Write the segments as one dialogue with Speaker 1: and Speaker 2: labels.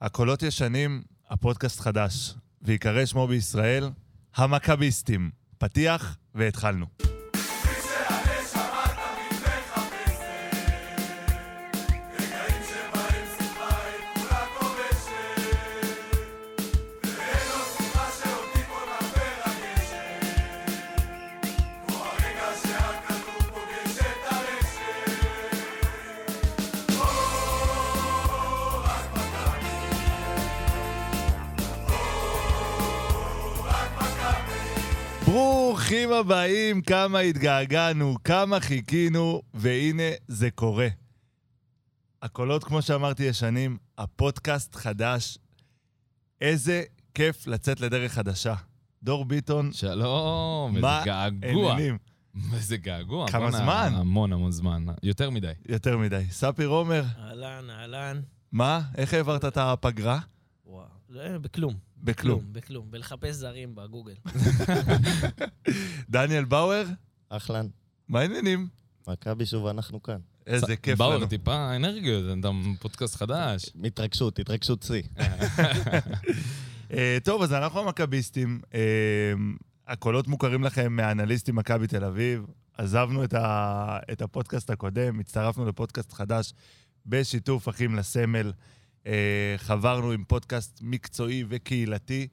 Speaker 1: הקולות ישנים, הפודקאסט חדש, ויקרא שמו בישראל, המכביסטים. פתיח, והתחלנו. ברוכים הבאים, כמה התגעגענו, כמה חיכינו, והנה זה קורה. הקולות, כמו שאמרתי, ישנים, הפודקאסט חדש. איזה כיף לצאת לדרך חדשה. דור ביטון,
Speaker 2: שלום, איזה
Speaker 1: מה
Speaker 2: געגוע.
Speaker 1: העניינים?
Speaker 2: איזה געגוע.
Speaker 1: כמה
Speaker 2: בואנה,
Speaker 1: זמן?
Speaker 2: המון המון זמן. יותר מדי.
Speaker 1: יותר מדי. ספיר עומר,
Speaker 3: אהלן, אהלן.
Speaker 1: מה? איך העברת את הפגרה?
Speaker 3: וואו. לא, בכלום.
Speaker 2: לא.
Speaker 1: בכלום.
Speaker 3: בכלום. בלחפש זרים בגוגל.
Speaker 1: דניאל באואר,
Speaker 4: אהלן,
Speaker 1: מה העניינים?
Speaker 4: מכבי שוב אנחנו כאן.
Speaker 1: איזה
Speaker 2: ס-
Speaker 1: כיף לנו.
Speaker 2: באואר טיפה אנרגיות, אתה פודקאסט חדש.
Speaker 4: התרגשות, התרגשות שיא.
Speaker 1: אה, טוב, אז אנחנו המכביסטים. אה, הקולות מוכרים לכם מהאנליסטים מכבי תל אביב. עזבנו את, ה... את הפודקאסט הקודם, הצטרפנו לפודקאסט חדש בשיתוף אחים לסמל. אה, חברנו עם פודקאסט מקצועי וקהילתי,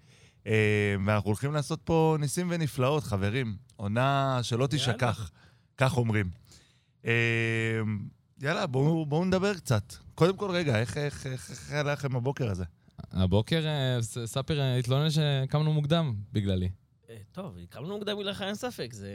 Speaker 1: אה, ואנחנו הולכים לעשות פה ניסים ונפלאות, חברים. עונה שלא תישכח, כך אומרים. אה, יאללה, בואו בוא נדבר קצת. קודם כל, רגע, איך, איך, איך, איך היה לכם הבוקר הזה?
Speaker 2: הבוקר אה, ס- ספיר אה, התלונן שקמנו מוקדם בגללי.
Speaker 3: אה, טוב, קמנו מוקדם בגללך, אין ספק. זה...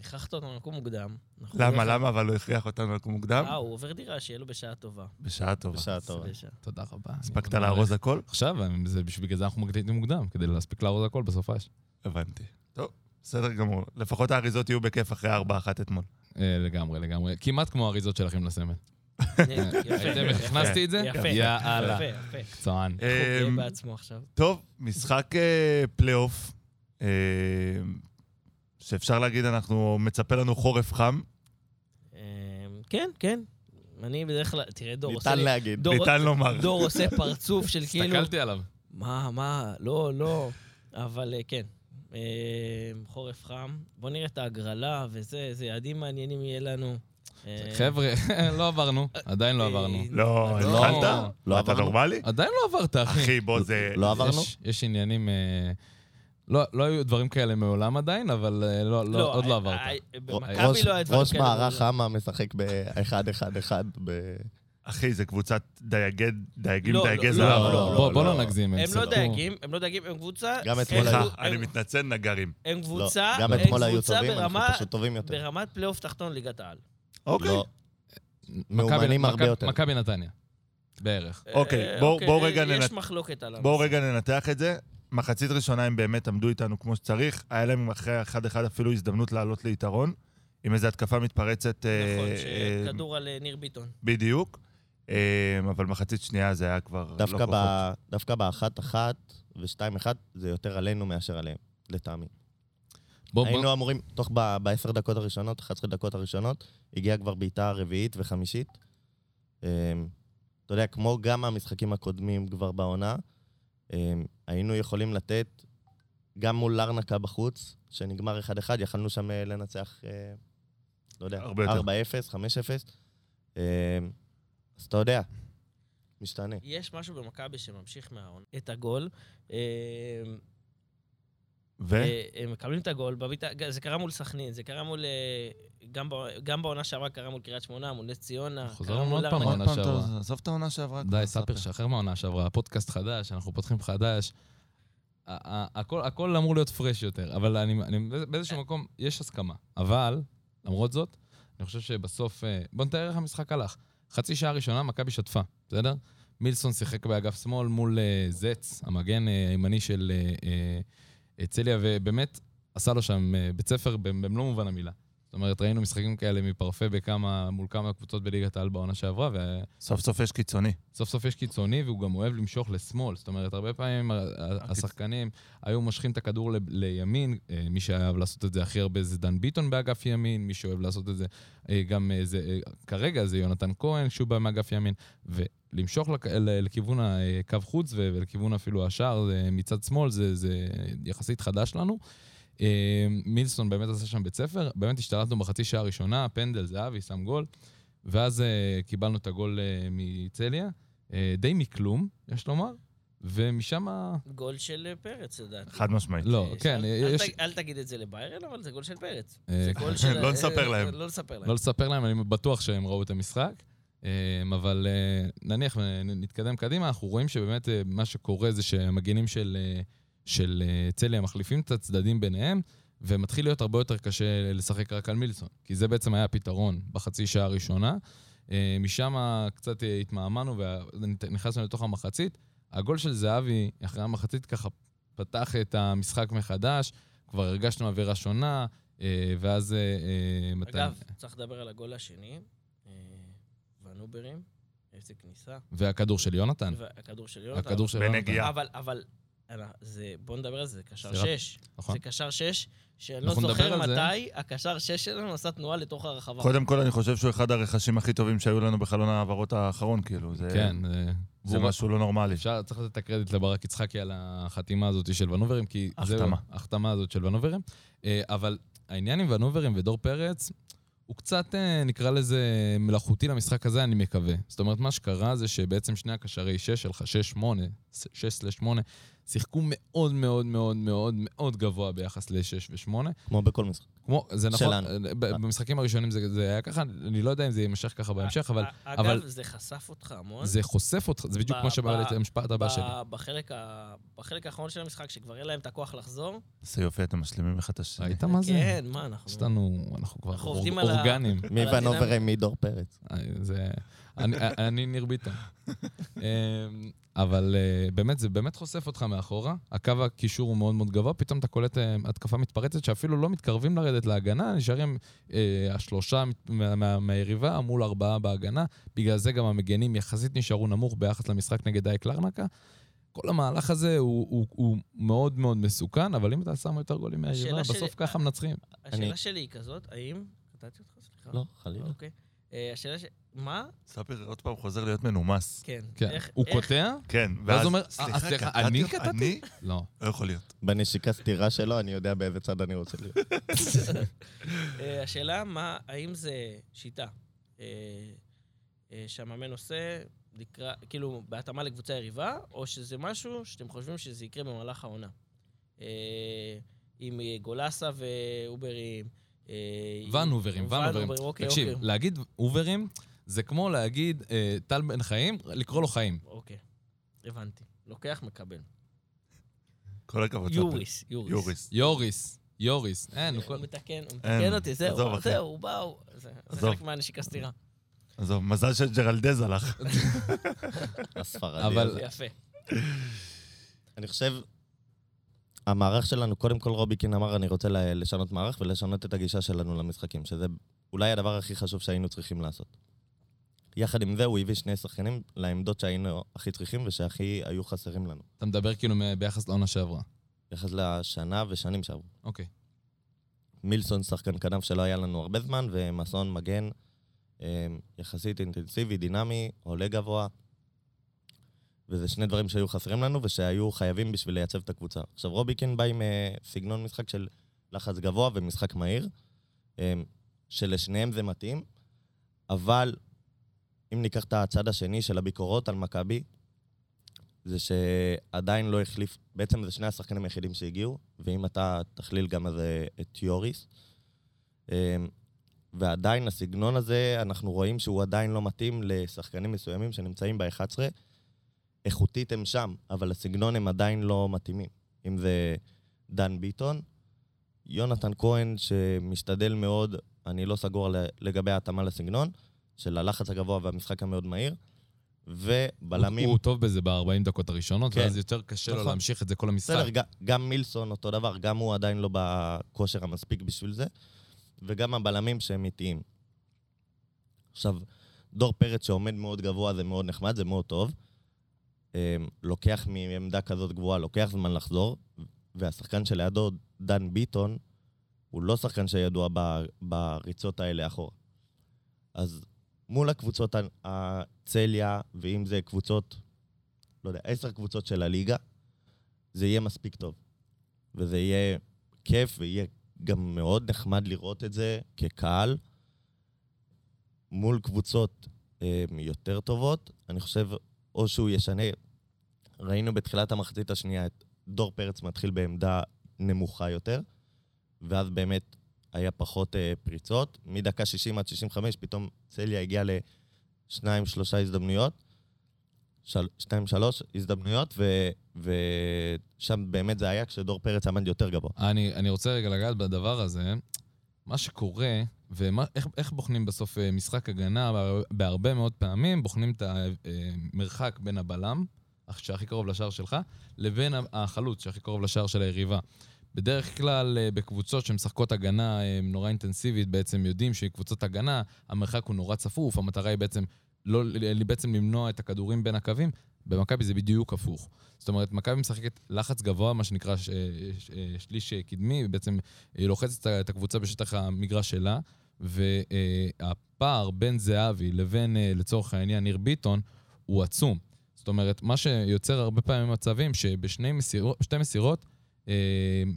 Speaker 3: הכרחת אותנו לקום מוקדם. אנחנו
Speaker 1: למה?
Speaker 3: בדרך כלל-
Speaker 1: למה אבל הוא הכריח אותנו לקום מוקדם?
Speaker 3: אה, הוא עובר דירה, שיהיה לו בשעה טובה.
Speaker 1: בשעה טובה.
Speaker 4: בשעה טובה.
Speaker 3: בשעה.
Speaker 2: תודה רבה.
Speaker 1: הספקת
Speaker 2: אני-
Speaker 1: לארוז הכל?
Speaker 2: עכשיו, אה, זה בשביל- בגלל זה אנחנו מקליטים מוקדם, כדי להספיק לארוז הכל בסופש.
Speaker 1: הבנתי. טוב, בסדר גמור. לפחות האריזות יהיו בכיף אחרי הארבע אחת אתמול.
Speaker 2: אה, לגמרי, לגמרי. כמעט כמו האריזות שלכם לסמל.
Speaker 3: יפה,
Speaker 2: ראיתם איך
Speaker 3: יפה.
Speaker 2: הכנסתי את זה?
Speaker 3: יפה.
Speaker 2: יאללה.
Speaker 3: יפה, יפה.
Speaker 2: צוען.
Speaker 3: הוא גאה
Speaker 1: אמ,
Speaker 3: בעצמו עכשיו.
Speaker 1: טוב, משחק אה, פלייאוף, אה, שאפשר להגיד, אנחנו, מצפה לנו חורף חם.
Speaker 3: אמ, כן, כן. אני בדרך כלל... תראה, דור עושה
Speaker 4: ניתן
Speaker 3: לי...
Speaker 4: להגיד.
Speaker 3: דור-
Speaker 1: ניתן לומר.
Speaker 3: דור עושה פרצוף של כאילו...
Speaker 2: הסתכלתי עליו.
Speaker 3: מה, מה, לא, לא. אבל אה, כן, אה, חורף חם. בוא נראה את ההגרלה וזה, איזה יעדים מעניינים יהיה לנו. אה,
Speaker 2: חבר'ה, לא עברנו, עדיין לא
Speaker 3: אה,
Speaker 2: עברנו.
Speaker 1: לא,
Speaker 3: לא.
Speaker 1: התחלת?
Speaker 4: לא
Speaker 1: אתה
Speaker 4: עברנו.
Speaker 1: נורמלי?
Speaker 2: עדיין לא עברת, אחי.
Speaker 1: אחי, בוא, זה...
Speaker 4: לא עברנו?
Speaker 2: יש, יש עניינים... אה, לא, לא היו דברים כאלה מעולם עדיין, אבל אה, לא, לא, עוד לא
Speaker 3: אה,
Speaker 2: עברת.
Speaker 3: אה, במכבי
Speaker 4: ראש-
Speaker 3: לא היה דברים
Speaker 4: ראש
Speaker 3: כאלה.
Speaker 4: מערך חמה משחק ב-1-1-1 ב... לא,
Speaker 1: אחי, זה קבוצת דייגי- דייגים,
Speaker 3: לא,
Speaker 1: דייגי
Speaker 3: לא,
Speaker 1: זהב.
Speaker 3: לא, לא,
Speaker 2: בוא,
Speaker 4: לא,
Speaker 2: בוא
Speaker 4: לא.
Speaker 2: לא נגזים.
Speaker 3: הם לא
Speaker 2: שיחקו-
Speaker 3: דייגים, הם לא דייגים, הם קבוצה...
Speaker 4: גם אתמול
Speaker 3: הם-
Speaker 4: היו-
Speaker 1: סליחה,
Speaker 3: הם-
Speaker 1: אני מתנצל, נגרים.
Speaker 3: הם
Speaker 4: לא,
Speaker 3: קבוצה...
Speaker 4: גם
Speaker 3: הם
Speaker 4: אתמול היו
Speaker 3: קבוצה
Speaker 4: טובים, אנחנו
Speaker 3: ברמה-
Speaker 4: פשוט טובים יותר.
Speaker 3: ברמת פלייאוף תחתון ליגת העל.
Speaker 1: אוקיי.
Speaker 4: לא,
Speaker 2: מכבי-
Speaker 4: מאומנים
Speaker 2: מכבי-
Speaker 4: הרבה יותר.
Speaker 2: מכבי נתניה, בערך.
Speaker 1: אוקיי,
Speaker 3: אה,
Speaker 1: בואו-
Speaker 3: אוקיי,
Speaker 1: בואו רגע
Speaker 3: יש
Speaker 1: ננת-
Speaker 3: מחלוקת על הנושא.
Speaker 1: בואו רגע ננתח את זה. מחצית ראשונה הם באמת עמדו איתנו כמו שצריך. היה להם אחרי 1-1 אפילו הזדמנות לעלות ליתרון, עם איזו התקפה מתפרצת. אה,
Speaker 3: נכון,
Speaker 1: אה,
Speaker 3: שכדור על אה, ניר ביטון.
Speaker 1: בדיוק. אה, אבל מחצית שנייה זה היה כבר לא
Speaker 4: דווקא
Speaker 1: כוחות.
Speaker 4: ב- דווקא באחת-אחת ושתיים-אחת זה יותר עלינו מאשר עליהם, לטעמי.
Speaker 2: בוא, בוא,
Speaker 4: היינו אמורים, תוך ב- בעשר דקות הראשונות, 11 דקות הראשונות, הגיעה כבר בעיטה רביעית וחמישית. אמ, אתה יודע, כמו גם המשחקים הקודמים כבר בעונה, אמ, היינו יכולים לתת, גם מול לארנקה בחוץ, שנגמר 1-1, יכלנו שם אה, לנצח, אה, לא יודע,
Speaker 1: הרבה יותר.
Speaker 4: 4-0, 5-0. אמ, אז אתה יודע, משתנה.
Speaker 3: יש משהו במכבי שממשיך מהעונה. את הגול. אה,
Speaker 1: ו...
Speaker 2: אוקיי.
Speaker 3: אה, הם מקבלים את הגול, בביתה, זה קרה מול סכנין, זה קרה מול... אה, גם ב- גם בעונה שעברה קרה מול קריית שמונה, מול נס ציונה.
Speaker 2: חוזר
Speaker 3: קרה
Speaker 2: לנו
Speaker 3: מול
Speaker 2: עוד פעם,
Speaker 3: ארנק.
Speaker 2: העונה
Speaker 1: אתה-
Speaker 2: שעברה.
Speaker 1: עזוב את העונה שעברה.
Speaker 2: די,
Speaker 1: כבר,
Speaker 2: ספיר, שחרר מהעונה שעברה, פודקאסט חדש, אנחנו פותחים חדש. ה- ה- הכל הכל אמור להיות פרש יותר, אבל אני- אני- באיזה- באיזשהו מקום יש הסכמה. אבל, למרות זאת, אני חושב שבסוף... אה, בוא נתאר איך המשחק הלך. חצי שעה ראשונה מכבי שטפה, בסדר? מילסון שיחק באגף שמאל מול אה, זץ, המגן אה, הימני של אה, אה, צליה, ובאמת עשה לו שם אה, בית ספר במ- במלוא מובן המילה. זאת אומרת, ראינו משחקים כאלה מפרפה בכמה, מול כמה קבוצות בליגת העל בעונה שעברה, וה-
Speaker 1: סוף סוף יש קיצוני.
Speaker 2: סוף סוף יש קיצוני, והוא גם אוהב למשוך לשמאל. זאת אומרת, הרבה פעמים ה- ה- השחקנים היו מושכים את הכדור ל- לימין. אה, מי שאהב לעשות את זה הכי הרבה זה דן ביטון באגף ימין, מי שאוהב לעשות את זה אה, גם אה, זה, אה, כרגע זה יונתן כהן, שהוא בא מאגף ימין. למשוך לק- ל- לכיוון הקו חוץ ו- ולכיוון אפילו השער אה, מצד שמאל, זה, זה יחסית חדש לנו. אה, מילסון באמת עשה שם בית ספר, באמת השתלטנו בחצי שעה הראשונה, פנדל זהבי, שם גול, ואז אה, קיבלנו את הגול אה, מצליה, אה, די מכלום, יש לומר, ומשם...
Speaker 3: גול של אה, פרץ, לדעתי.
Speaker 1: חד משמעית.
Speaker 2: לא,
Speaker 3: ש-
Speaker 2: כן,
Speaker 3: אל-
Speaker 2: אה,
Speaker 3: אל
Speaker 2: יש...
Speaker 3: ת- אל תגיד את זה לביירן, אבל זה גול של פרץ.
Speaker 2: אה,
Speaker 3: זה גול של...
Speaker 1: לא נספר
Speaker 3: אה,
Speaker 1: להם.
Speaker 3: לא נספר להם.
Speaker 2: לא לספר להם, אני בטוח שהם ראו את המשחק. אמ, אבל אה, נניח ונתקדם קדימה, אנחנו רואים שבאמת אה, מה שקורה זה שהמגינים של, אה, של אה, צליה מחליפים את הצדדים ביניהם, ומתחיל להיות הרבה יותר קשה לשחק רק על מילסון, כי זה בעצם היה הפתרון בחצי שעה הראשונה. אה, משם קצת אה, התמהמהנו ונכנסנו לתוך המחצית. הגול של זהבי, אחרי המחצית ככה פתח את המשחק מחדש, כבר הרגשנו אווירה שונה, אה, ואז... אה, אה, מתי-
Speaker 3: אגב, צריך לדבר על הגול השני. אה, ונוברים, איזה כניסה.
Speaker 2: והכדור של יונתן.
Speaker 3: הכדור של יונתן.
Speaker 2: כן. הכדור של יונתן.
Speaker 1: בנגיעה.
Speaker 3: אבל, אבל, אנא, זה, בוא נדבר על זה, זה קשר
Speaker 2: סירב.
Speaker 3: שש.
Speaker 2: נכון.
Speaker 3: זה קשר שש, שאני לא
Speaker 2: אנחנו נדבר
Speaker 3: זוכר
Speaker 2: על זה.
Speaker 3: מתי הקשר שש שלנו עשה תנועה לתוך הרחבה.
Speaker 1: קודם כל, אני חושב שהוא אחד הרכשים הכי טובים שהיו לנו בחלון ההעברות האחרון, כאילו. זה,
Speaker 2: כן, זה-
Speaker 1: זה
Speaker 2: והוא-
Speaker 1: משהו לא נורמלי.
Speaker 2: אפשר, צריך לתת את הקרדיט לברק יצחקי על החתימה הזאת של ונוברים, כי... זה-
Speaker 1: החתמה.
Speaker 2: ההחתמה הזאת של ונוברים. אה, אבל העניין עם ונוברים ודור פרץ, הוא קצת, אה, נקרא לזה, מלאכותי למשחק הזה, אני מקווה. זאת אומרת, מה שקרה זה שבעצם שני הקשרי 6 שלך, 6-8, 6/8, שיחקו מאוד מאוד מאוד מאוד מאוד גבוה ביחס ל-6 ו-8.
Speaker 4: כמו בכל משחק.
Speaker 2: כמו, זה נכון,
Speaker 4: שלנו.
Speaker 2: אה, ב- במשחקים הראשונים זה זה היה ככה, אני לא יודע אם זה יימשך ככה בהמשך, אבל
Speaker 3: א- אגב,
Speaker 2: אבל-
Speaker 3: זה חשף אותך המון.
Speaker 2: זה חושף אותך, זה בדיוק
Speaker 3: נכון? ב-
Speaker 2: כמו שבא
Speaker 3: ב-
Speaker 2: לתת המשפט הבא שלי.
Speaker 3: ב- בחלק, ה... בחלק האחרון של המשחק, שכבר אין להם את הכוח לחזור.
Speaker 1: זה יופי, אתם משלימים אחד את השני.
Speaker 2: ראית מה זה?
Speaker 3: כן, מה אנחנו...
Speaker 2: יש לנו, אנחנו כבר
Speaker 3: אנחנו
Speaker 2: אורג-
Speaker 3: עובדים על ה-
Speaker 2: אורגנים.
Speaker 4: מי
Speaker 3: אבל
Speaker 4: ונובר מדור פרץ.
Speaker 2: אה, זה... אני- אה, אני ניר ביטון. אמ, אבל אה, באמת, זה באמת חושף אותך מאחורה. הקו הקישור הוא מאוד מאוד גבוה, פתאום אתה קולט אה, התקפה מתפרצת שאפילו לא מתקרבים לרדת להגנה, נשארים אה, השלושה מת- מה- מה- מהיריבה מול ארבעה בהגנה. בגלל זה גם המגנים יחסית נשארו נמוך ביחס למשחק נגד דייק לרנקה. כל המהלך הזה הוא, הוא, הוא מאוד מאוד מסוכן, אבל אם אתה שם יותר גולים מהיריבה,
Speaker 3: השאלה שלי-
Speaker 2: בסוף ככה מנצחים.
Speaker 3: השאלה
Speaker 4: אני-
Speaker 3: שלי היא כזאת, האם... קטעתי אותך, סליחה.
Speaker 4: לא, חלילה.
Speaker 3: אוקיי. אה, השאלה ש... מה?
Speaker 1: ספיר עוד פעם חוזר להיות מנומס.
Speaker 3: כן.
Speaker 2: כן.
Speaker 3: איך-
Speaker 2: הוא
Speaker 3: איך-
Speaker 2: קוטע?
Speaker 1: כן,
Speaker 2: ואז אומר, "אה, סליחה,
Speaker 1: קטעתי
Speaker 2: אני
Speaker 1: אותך?
Speaker 2: קטעתי?"
Speaker 1: אני?
Speaker 2: לא.
Speaker 1: לא יכול להיות.
Speaker 4: בנשיקה סטירה שלו, אני יודע באיזה צד אני רוצה להיות.
Speaker 3: אה, השאלה, מה, האם זה שיטה אה, אה, שהמאמן עושה, לקרא, כאילו, בהתאמה לקבוצה יריבה, או שזה משהו שאתם חושבים שזה יקרה במהלך העונה? אה, עם אה, גולסה ואוברים. אה, עם-
Speaker 2: ונוברים, ונוברים.
Speaker 3: אוקיי,
Speaker 2: תקשיב,
Speaker 3: אוקיי.
Speaker 2: להגיד אוברים זה כמו להגיד אה, טל בן חיים, לקרוא לו חיים.
Speaker 3: אוקיי, הבנתי. לוקח, מקבל.
Speaker 1: כל הכבוד. ספיר.
Speaker 3: יוריס, יוריס.
Speaker 1: יוריס.
Speaker 2: יוריס, יוריס. אין, הוא
Speaker 3: הוא
Speaker 2: כל...
Speaker 3: מתקן, הוא
Speaker 1: אין,
Speaker 3: מתקן אותי,
Speaker 1: עזוב,
Speaker 3: זהו,
Speaker 1: אחי.
Speaker 3: זהו, הוא בא, הוא... זה- זה
Speaker 1: עזוב.
Speaker 3: חלק מהנשיקה סטירה.
Speaker 1: עזוב, מזל שג'רלדז הלך.
Speaker 4: הספרדי
Speaker 2: אבל-
Speaker 4: הזה.
Speaker 3: יפה.
Speaker 4: אני חושב, המערך שלנו, קודם כל רובי קין אמר, אני רוצה ל- לשנות מערך ולשנות את הגישה שלנו למשחקים, שזה אולי הדבר הכי חשוב שהיינו צריכים לעשות. יחד עם זה, הוא הביא שני שחקנים לעמדות שהיינו הכי צריכים ושהכי היו חסרים לנו.
Speaker 2: אתה מדבר כאילו מ- ביחס לעונה שעברה.
Speaker 4: יחס לשנה ושנים שעברו.
Speaker 2: אוקיי.
Speaker 4: מילסון שחקן כנף שלא היה לנו הרבה זמן, ומסון מגן אה, יחסית אינטנסיבי, דינמי, עולה גבוה. וזה שני דברים שהיו חסרים לנו ושהיו חייבים בשביל לייצב את הקבוצה. עכשיו, רוביקין בא עם אה, סגנון משחק של לחץ גבוה ומשחק מהיר, אה, שלשניהם זה מתאים, אבל אם ניקח את הצד השני של הביקורות על מכבי, זה שעדיין לא החליף, בעצם זה שני השחקנים היחידים שהגיעו, ואם אתה תכליל גם אז אה, את יוריס. אמ, ועדיין הסגנון הזה, אנחנו רואים שהוא עדיין לא מתאים לשחקנים מסוימים שנמצאים ב-11. איכותית הם שם, אבל הסגנון הם עדיין לא מתאימים. אם זה דן ביטון, יונתן כהן, שמשתדל מאוד, אני לא סגור ל- לגבי ההתאמה לסגנון, של הלחץ הגבוה והמשחק המאוד מהיר, ובלמים...
Speaker 2: הוא, הוא טוב בזה ב-40 דקות הראשונות,
Speaker 4: כן.
Speaker 2: ואז יותר קשה לו
Speaker 4: נכון.
Speaker 2: להמשיך את זה כל המשחק.
Speaker 4: בסדר, ג- גם מילסון אותו דבר, גם הוא עדיין לא בכושר המספיק בשביל זה, וגם הבלמים שהם איטיים. עכשיו, דור פרץ שעומד מאוד גבוה זה מאוד נחמד, זה מאוד טוב. אמ, לוקח מעמדה כזאת גבוהה, לוקח זמן לחזור, והשחקן שלידו, דן ביטון, הוא לא שחקן שידוע ב- בריצות האלה אחורה. אז מול הקבוצות ה- הצליה, ואם זה קבוצות, לא יודע, עשר קבוצות של הליגה, זה יהיה מספיק טוב. וזה יהיה כיף, ויהיה גם מאוד נחמד לראות את זה כקהל. מול קבוצות אה, יותר טובות, אני חושב, או שהוא ישנה. ראינו בתחילת המחצית השנייה את דור פרץ מתחיל בעמדה נמוכה יותר, ואז באמת היה פחות אה, פריצות. מדקה 60 עד 65 פתאום צליה הגיע לשניים, שלושה הזדמנויות, של, שתיים, שלוש הזדמנויות, ו, ושם באמת זה היה כשדור פרץ עמד יותר גבוה.
Speaker 2: אני, אני רוצה רגע לגעת בדבר הזה. מה שקורה, ואיך איך בוחנים בסוף אה, משחק הגנה, בהר- בהרבה מאוד פעמים בוחנים את המרחק בין הבלם, אך- שהכי קרוב לשער שלך, לבין ה- החלוץ, שהכי קרוב לשער של היריבה. בדרך כלל אה, בקבוצות שמשחקות הגנה אה, נורא אינטנסיבית, בעצם יודעים שקבוצות הגנה, המרחק הוא נורא צפוף, המטרה היא בעצם, לא, ל- ל- בעצם למנוע את הכדורים בין הקווים. במכבי זה בדיוק הפוך. זאת אומרת, מכבי משחקת לחץ גבוה, מה שנקרא ש, ש, אה, שליש קדמי, בעצם היא לוחצת את ה- את הקבוצה בשטח המגרש שלה, והפער בין זהבי לבין, אה, לצורך העניין, ניר ביטון, הוא עצום. זאת אומרת, מה שיוצר הרבה פעמים מצבים, שבשתי מסירות, מסירות אה,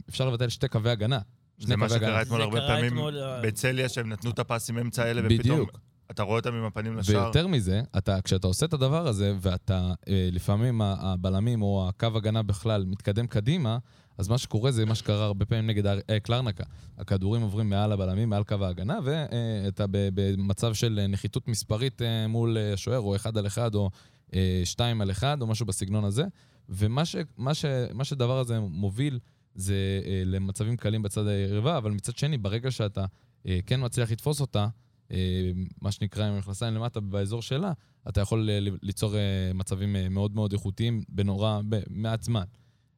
Speaker 2: אפשר לבטל שתי קווי הגנה. שני
Speaker 1: זה מה
Speaker 2: קווי הגנה.
Speaker 1: שקרה אתמול
Speaker 3: זה
Speaker 1: הרבה
Speaker 3: קרה
Speaker 1: פעמים
Speaker 3: אתמול, אה,
Speaker 1: בצליה, שהם נתנו את הפסים אמצע האלה, ופתאום
Speaker 2: בדיוק.
Speaker 1: אתה רואה אותם עם הפנים לשער.
Speaker 2: ויותר מזה, אתה, כשאתה עושה את הדבר הזה, ואתה, אה, לפעמים ה- הבלמים או הקו הגנה בכלל מתקדם קדימה, אז מה שקורה זה מה שקרה הרבה פעמים נגד הר- אה, קלרנקה. הכדורים עוברים מעל הבלמים, מעל קו ההגנה, ואתה במצב של אה, נחיתות מספרית אה, מול אה, השוער, או אחד על אחד, או אה, שתיים על אחד, או משהו בסגנון הזה. ומה ש, מה ש, מה שהדבר הזה מוביל זה אה, למצבים קלים בצד היריבה, אבל מצד שני, ברגע שאתה אה, כן מצליח לתפוס אותה, אה, מה שנקרא עם המכנסיים למטה באזור שלה, אתה יכול אה, ל- ליצור אה, מצבים אה, מאוד מאוד איכותיים בנורא, במעט זמן.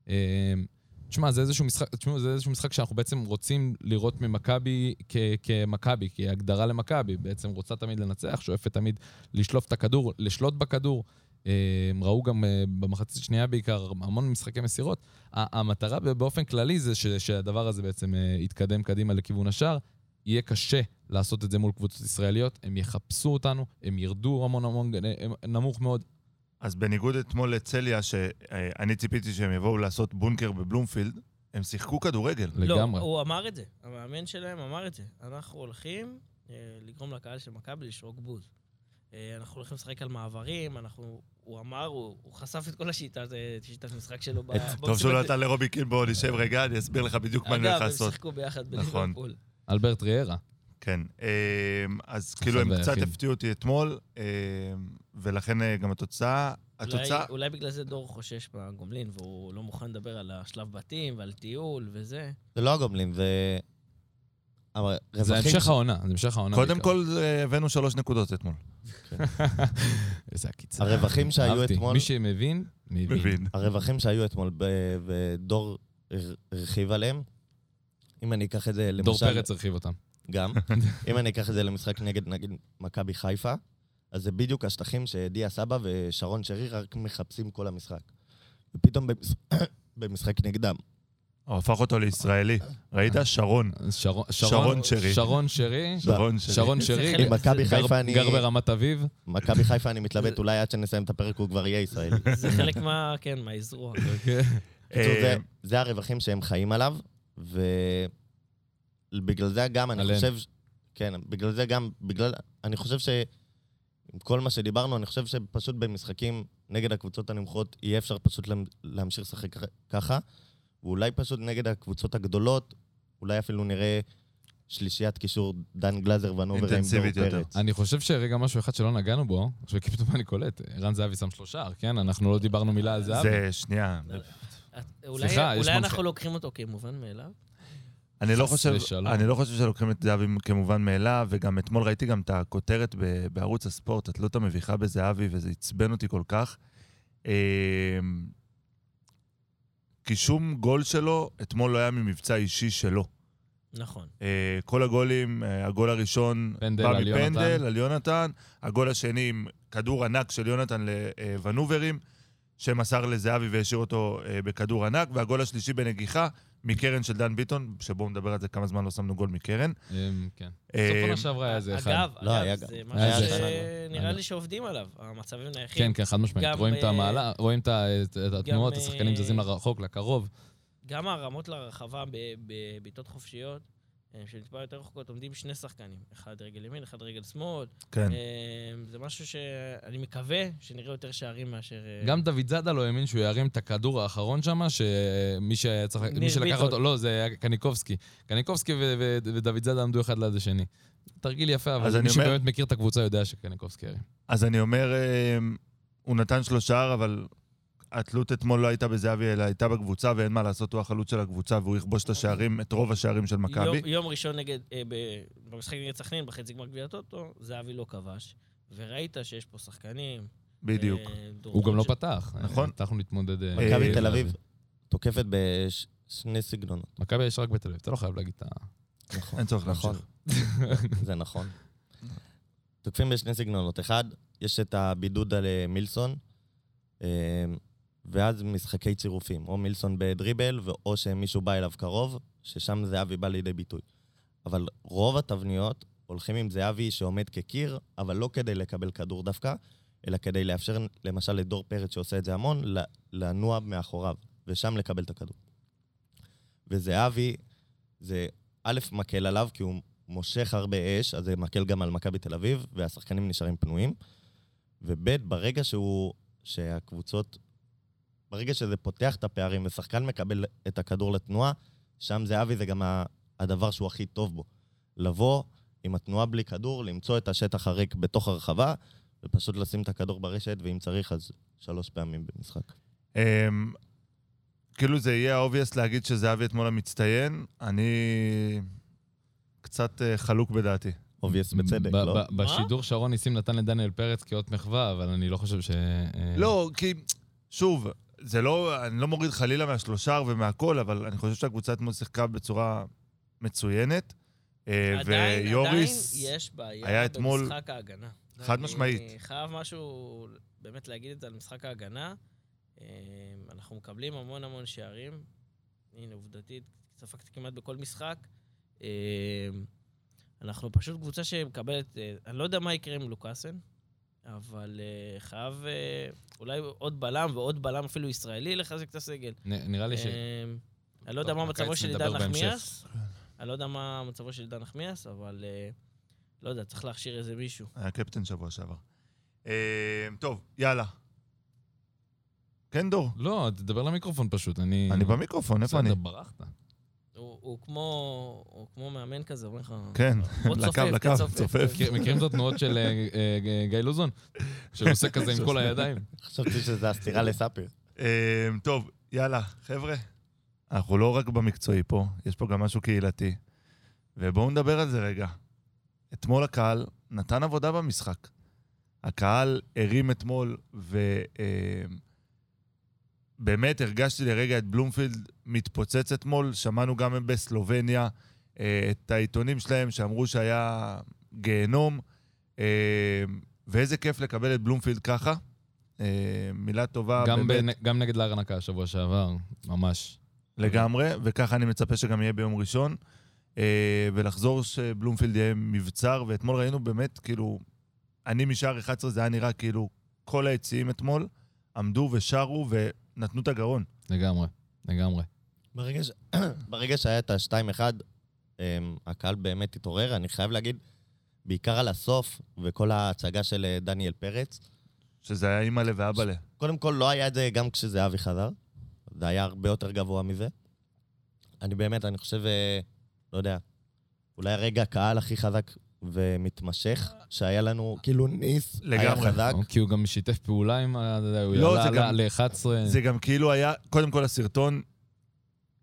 Speaker 2: אה, תשמע, זה איזשהו משחק, תשמעו, זה איזשהו משחק שאנחנו בעצם רוצים לראות ממכבי כ- כמכבי, כהגדרה למכבי. בעצם רוצה תמיד לנצח, שואפת תמיד לשלוף את הכדור, לשלוט בכדור. אה, ראו גם אה, במחצית השנייה בעיקר המון משחקי מסירות. ה- המטרה באופן כללי זה ש- שהדבר הזה בעצם אה, יתקדם קדימה לכיוון השער. יהיה קשה לעשות את זה מול קבוצות ישראליות, הם יחפשו אותנו, הם ירדו המון המון, אה, אה, נמוך מאוד.
Speaker 1: אז בניגוד אתמול לצליה, שאני ציפיתי שהם יבואו לעשות בונקר בבלומפילד, הם שיחקו כדורגל.
Speaker 2: לגמרי.
Speaker 3: לא, הוא אמר את זה. המאמן שלהם אמר את זה. אנחנו הולכים אה, לגרום לקהל של מכבי לשרוק בוז. אה, אנחנו הולכים לשחק על מעברים, אנחנו... הוא אמר, הוא, הוא חשף את כל השיטה, זה שיטת המשחק שלו. ב-
Speaker 1: טוב שהוא לא
Speaker 3: במסיבת-
Speaker 1: נתן לרובי קין בואו נשב רגע, אני אסביר לך בדיוק מה אני הולך
Speaker 3: אגב, הם
Speaker 1: לעשות.
Speaker 3: שיחקו ביחד
Speaker 1: נכון.
Speaker 3: בליברפול.
Speaker 2: אלברט ריארה.
Speaker 1: כן, אמ, אז כאילו הם
Speaker 2: החבר
Speaker 1: קצת
Speaker 2: היחיד.
Speaker 1: הפתיעו אותי אתמול, אמ, ולכן אה, גם התוצאה,
Speaker 3: אולי-
Speaker 1: התוצאה,
Speaker 3: אולי בגלל זה דור חושש בגומלין, והוא לא מוכן לדבר על השלב בתים ועל טיול וזה.
Speaker 4: זה לא הגומלין, זה... אבל
Speaker 2: זה
Speaker 4: רווחים
Speaker 2: המשך העונה, זה המשך העונה.
Speaker 1: קודם
Speaker 2: בעיקר.
Speaker 1: כל אה, הבאנו שלוש נקודות אתמול.
Speaker 2: איזה עקיצה.
Speaker 4: הרווחים שהיו
Speaker 2: אהבתי.
Speaker 4: אתמול-
Speaker 2: מי שמבין, מבין.
Speaker 1: מבין.
Speaker 4: הרווחים שהיו אתמול ב- ודור הר- הרחיב עליהם, אם אני אקח את זה למשל...
Speaker 2: דור פרץ הרחיב אותם.
Speaker 4: גם. אם אני אקח את זה למשחק נגד, נגיד, מכבי חיפה, אז זה בדיוק השטחים שדיה סבא ושרון שרי רק מחפשים כל המשחק. ופתאום במש- במשחק נגדם.
Speaker 1: הוא הפך אותו לישראלי. ראית? שרון.
Speaker 2: שרון-
Speaker 1: שרון שרי.
Speaker 2: שרון שרי.
Speaker 1: שרון שלי.
Speaker 2: שרון שרי.
Speaker 3: חלק-
Speaker 4: עם מכבי
Speaker 2: כן, גר-
Speaker 4: חיפה אני...
Speaker 2: גר ברמת אביב.
Speaker 4: מכבי חיפה אני מתלבט, אולי עד שנסיים את הפרק הוא כבר יהיה ישראלי.
Speaker 1: אה,
Speaker 3: זה חלק מה... כן, מהאזרוע.
Speaker 1: אוקיי.
Speaker 4: בקיצור, זה-
Speaker 1: אמ,
Speaker 4: זה הרווחים שהם חיים עליו, ובגלל זה גם אני
Speaker 2: עליהם.
Speaker 4: חושב... ש- כן, בגלל זה גם, בגלל... אני חושב ש... עם כל מה שדיברנו, אני חושב שפשוט במשחקים נגד הקבוצות הנמוכות יהיה אפשר פשוט למ- להמשיך לשחק כ- ככה, ואולי פשוט נגד הקבוצות הגדולות, אולי אפילו נראה שלישיית קישור דן גלאזר ונובר עם
Speaker 1: אינטנסיבית
Speaker 4: דור
Speaker 1: יותר.
Speaker 4: פרץ.
Speaker 2: אני חושב שרגע משהו אחד שלא נגענו בו, שפתאום אני קולט, ערן זהבי שם שלושה, כן? אנחנו לא דיברנו מילה על זהבי.
Speaker 1: זה, שנייה.
Speaker 3: את- אולי-
Speaker 2: סליחה, יש
Speaker 3: אולי
Speaker 2: מנחה.
Speaker 3: אנחנו לוקחים אותו כמובן מאליו.
Speaker 1: אני לא
Speaker 2: חס
Speaker 1: חושב,
Speaker 2: ושלום.
Speaker 1: אני לא חושב שלוקחים את זהבי כמובן מאליו, וגם אתמול ראיתי גם את הכותרת ב- בערוץ הספורט, התלות המביכה בזהבי, וזה עצבן אותי כל כך. אמ, כי שום גול שלו אתמול לא היה ממבצע אישי שלו.
Speaker 3: נכון.
Speaker 1: אה, כל הגולים, אה, הגול הראשון
Speaker 2: פנדל
Speaker 1: בא
Speaker 2: על
Speaker 1: מפנדל
Speaker 2: יונתן.
Speaker 1: על יונתן, הגול השני עם כדור ענק של יונתן אה, לוונוברים, שמסר לזהבי והשאיר אותו אה, בכדור ענק, והגול השלישי בנגיחה מקרן של דן ביטון, שבו הוא מדבר על זה כמה זמן לא שמנו גול מקרן.
Speaker 2: אמ, כן. סוף
Speaker 1: אה,
Speaker 2: עונה שעברה היה איזה אחד.
Speaker 3: אגב,
Speaker 4: לא, היה
Speaker 3: אגב,
Speaker 4: גם.
Speaker 3: זה
Speaker 2: היה
Speaker 3: משהו
Speaker 2: זה.
Speaker 3: שנראה
Speaker 2: היה.
Speaker 3: לי שעובדים עליו, המצבים נייחים.
Speaker 2: כן, כן, חד משמעית.
Speaker 3: גם,
Speaker 2: רואים את
Speaker 3: אה,
Speaker 2: המעלה, רואים את ה- את- את התנועות,
Speaker 3: אה,
Speaker 2: השחקנים זזים לרחוק, לקרוב.
Speaker 3: גם הרמות לרחבה ב- בבעיטות חופשיות, אה, של טיפה יותר רחוקות, עומדים שני שחקנים, אחד רגל ימין, אחד רגל שמאל.
Speaker 1: כן.
Speaker 3: אה, זה משהו שאני מקווה שנראה יותר שערים מאשר... אה,
Speaker 2: גם דוד זאדה לא האמין שהוא ירים את הכדור האחרון שם, שמי שהיה צריך...
Speaker 3: ניר
Speaker 2: מי שלקח
Speaker 3: ביטון.
Speaker 2: אותו, לא, זה היה קניקובסקי. קניקובסקי ו- ו- ודוד זאדה עמדו אחד ליד השני. תרגיל יפה,
Speaker 1: אז
Speaker 2: אבל
Speaker 1: אני
Speaker 2: מי
Speaker 1: אומר-
Speaker 2: שבאמת מכיר את הקבוצה יודע שקניקובסקי ירים.
Speaker 1: אז אני אומר, אה, הוא נתן שלושה, אבל התלות אתמול לא הייתה בזהבי, אלא הייתה בקבוצה, ואין מה לעשות, הוא החלוץ של הקבוצה, והוא יכבוש את השערים, את רוב השערים של מכבי.
Speaker 3: יום- יום ראשון נגד, אה, ב- במשחק נגד סכנין, בחצי גמר גביע הטוטו, זהבי לא כבש, וראית שיש פה שחקנים.
Speaker 1: בדיוק.
Speaker 3: אה, דורון
Speaker 2: הוא גם לא
Speaker 3: ש-
Speaker 2: פתח.
Speaker 1: נכון.
Speaker 2: פתחנו להתמודד... אה,
Speaker 1: אה,
Speaker 4: מכבי תל אביב תוקפת בשני סגנונות.
Speaker 2: מכבי יש רק בתל אביב, אתה לא חייב להגיד את ה...
Speaker 4: נכון.
Speaker 1: אין צורך
Speaker 4: נכון.
Speaker 1: להמשיך.
Speaker 4: זה נכון. תוקפים בשני סגנונות. אחד, יש את הבידוד על אה, מילסון, אה, ואז משחקי צירופים. או מילסון בדריבל, או שמישהו בא אליו קרוב, ששם זהבי בא לידי ביטוי. אבל רוב התבניות הולכים עם זהבי שעומד כקיר, אבל לא כדי לקבל כדור דווקא, אלא כדי לאפשר, למשל, לדור פרץ שעושה את זה המון, ל- לנוע מאחוריו, ושם לקבל את הכדור. וזהבי, זה א', מקל עליו, כי הוא מושך הרבה אש, אז זה מקל גם על מכבי תל אביב, והשחקנים נשארים פנויים. וב', ברגע שהוא, שהקבוצות, ברגע שזה פותח את הפערים ושחקן מקבל את הכדור לתנועה, שם זהבי זה גם ה- הדבר שהוא הכי טוב בו. לבוא עם התנועה בלי כדור, למצוא את השטח הריק בתוך הרחבה, ופשוט לשים את הכדור ברשת, ואם צריך אז שלוש פעמים במשחק.
Speaker 1: אמ, כאילו זה יהיה אובייס להגיד שזהבי אתמול המצטיין, אני קצת אה, חלוק בדעתי.
Speaker 3: כן.
Speaker 4: אובייס בצדק,
Speaker 2: ב-
Speaker 4: לא?
Speaker 2: ב- בשידור שרון ניסים נתן לדניאל פרץ כאות מחווה, אבל אני לא חושב ש... אה,
Speaker 1: לא, כי, שוב, זה לא, אני לא מוריד חלילה מהשלושר ומהכל, אבל אני חושב שהקבוצה אתמול שיחקה בצורה מצוינת. אה,
Speaker 3: עדיין,
Speaker 1: ויוריס...
Speaker 3: עדיין יש בעיה
Speaker 1: היה אתמול-
Speaker 3: במשחק ההגנה.
Speaker 1: חד
Speaker 3: אני-
Speaker 1: משמית.
Speaker 3: אני חייב משהו, באמת להגיד את זה על משחק ההגנה. אה, אנחנו מקבלים המון המון שערים. הנה, עובדתית, ספגתי כמעט בכל משחק. אה, אנחנו פשוט קבוצה שמקבלת, אה, אני לא יודע מה יקרה עם לוקאסן, אבל אה, חייב אה, אולי עוד בלם ועוד בלם אפילו ישראלי לחזק את הסגל.
Speaker 2: נ- נראה לי ש...
Speaker 3: אמ, אני לא יודע
Speaker 2: טוב,
Speaker 3: מה
Speaker 2: בקיץ
Speaker 3: מצבו של
Speaker 2: נדבר
Speaker 3: עידן
Speaker 2: בהמשך.
Speaker 3: נחמיאס. אני לא יודע מה מצבו של עידן נחמיאס, אבל אה, לא יודע, צריך להכשיר איזה מישהו.
Speaker 1: היה קפטן שבוע שעבר. אמ, טוב, יאללה. כן, דור.
Speaker 2: לא, תדבר למיקרופון פשוט, אני...
Speaker 3: כן.
Speaker 1: אני במיקרופון, איפה
Speaker 2: בסדר,
Speaker 1: אני?
Speaker 2: ברחת.
Speaker 3: הוא הוא כמו הוא כמו מאמן כזה, אומר לך...
Speaker 1: כן,
Speaker 3: בוא
Speaker 1: לקו,
Speaker 3: תצופף,
Speaker 1: לקו,
Speaker 3: תצופף.
Speaker 1: צופף. כאילו,
Speaker 2: מכיר- מכירים את התנועות של אה, אה, אה, גיא לוזון? שעושה כזה עם כל הידיים?
Speaker 4: חשבתי שזה הסתירה לספיר.
Speaker 1: אמ, טוב, יאללה, חבר'ה. אנחנו לא רק במקצועי פה, יש פה גם משהו קהילתי. ובואו נדבר על זה רגע. אתמול הקהל נתן עבודה במשחק. הקהל הרים אתמול, ובאמת הרגשתי לרגע את בלומפילד מתפוצץ אתמול. שמענו גם בסלובניה אה, את העיתונים שלהם שאמרו שהיה גיהנום, אה, ואיזה כיף לקבל את בלומפילד ככה. אה, מילה טובה
Speaker 2: גם
Speaker 1: באמת
Speaker 2: בנ- גם נגד לארנקה השבוע שעבר, ממש.
Speaker 1: לגמרי, וככה אני מצפה שגם יהיה ביום ראשון. אה, ולחזור שבלומפילד יהיה מבצר, ואתמול ראינו באמת, כאילו, אני משער 11, זה היה נראה כאילו כל היציעים אתמול עמדו ושרו ונתנו את הגרון.
Speaker 2: לגמרי, לגמרי.
Speaker 4: ברגע, ש... ברגע שהיה את ה-2-1, אמ, הקהל באמת התעורר. אני חייב להגיד, בעיקר על הסוף וכל ההצגה של אה, דניאל פרץ,
Speaker 1: שזה היה אימא'לה ואבא'לה.
Speaker 4: קודם כל, לא היה את זה גם כשזהבי חזר. זה היה הרבה יותר גבוה מזה. אני באמת, אני חושב, אה, לא יודע, אולי רגע הקהל הכי חזק ומתמשך שהיה לנו, כאילו ניס, היה
Speaker 1: לגמרי.
Speaker 4: חזק.
Speaker 2: אוקיי. כי הוא גם שיתף פעולה עם ה... אתה יודע, הוא
Speaker 1: אה, לא,
Speaker 2: יעלה
Speaker 1: זה גם-
Speaker 2: עלה ל-11.
Speaker 1: זה גם כאילו היה, קודם כל הסרטון,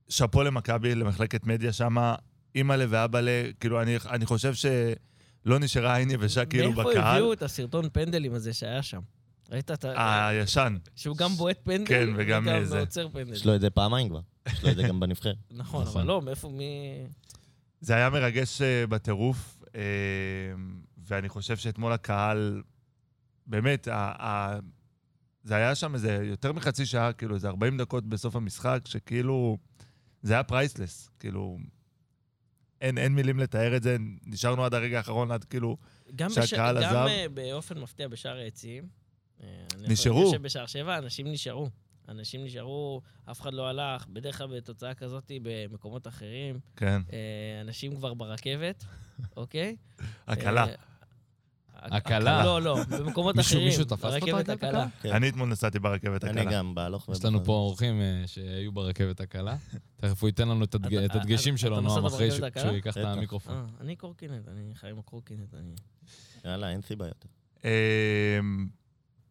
Speaker 1: שאפו למכבי, למחלקת מדיה שמה, אימא'לה ואבא'לה, כאילו, אני, אני חושב שלא נשארה עין יבשה כאילו בקהל.
Speaker 3: מאיפה הביאו את הסרטון פנדלים הזה שהיה שם? ראית את ה...
Speaker 1: הישן.
Speaker 3: שהוא גם בועט פנדל,
Speaker 1: אה, כן, וגם זה.
Speaker 3: עוצר פנדל.
Speaker 4: יש לו את זה פעמיים כבר. יש לו את זה גם בנבחרת.
Speaker 3: נכון, אבל
Speaker 2: נכון.
Speaker 3: לא, מאיפה, מי...
Speaker 1: זה היה מרגש אה, בטירוף, אה, ואני חושב שאתמול הקהל, באמת, ה- ה- זה היה שם איזה יותר מחצי שעה, כאילו איזה 40 דקות בסוף המשחק, שכאילו זה היה פרייסלס, כאילו... אין, אין מילים לתאר את זה, נשארנו עד הרגע האחרון, עד כאילו...
Speaker 3: גם, בש...
Speaker 1: שהקהל
Speaker 3: גם
Speaker 1: עזב?
Speaker 3: אה, באופן מפתיע בשער היציעים. אה, אני
Speaker 1: נשארו.
Speaker 3: יכול- אני יושב בשער שבע, אנשים נשארו. אנשים נשארו, אף אחד לא הלך. בדרך כלל בתוצאה כזאת במקומות אחרים,
Speaker 1: כן,
Speaker 3: אה, אנשים כבר ברכבת, אוקיי?
Speaker 1: הקלה.
Speaker 3: אה,
Speaker 2: הקלה.
Speaker 3: לא, לא, במקומות
Speaker 2: מישהו-
Speaker 3: אחרים.
Speaker 2: מישהו תפס אותו
Speaker 3: ברכבת
Speaker 2: הרכבת
Speaker 3: הקלה.
Speaker 2: הקלה?
Speaker 4: כן.
Speaker 1: אני אתמול נסעתי ברכבת הקלה.
Speaker 4: אני גם בהלוך
Speaker 2: יש לנו פה אורחים אה, שהיו ברכבת הקלה. תכף הוא ייתן לנו את הדג-
Speaker 3: אתה-
Speaker 2: את הדגשים
Speaker 3: אתה-
Speaker 2: שלו,
Speaker 3: אתה
Speaker 2: נועם,
Speaker 3: נסעת
Speaker 2: אחרי
Speaker 3: ברכבת
Speaker 2: שהוא-
Speaker 3: הקלה?
Speaker 2: שהוא ייקח את
Speaker 4: בטח.
Speaker 2: המיקרופון.
Speaker 3: אה, אני קורקינט, אני חי עם הקורקינט, אני...
Speaker 4: יאללה, אין סיבה יותר.
Speaker 1: אמ,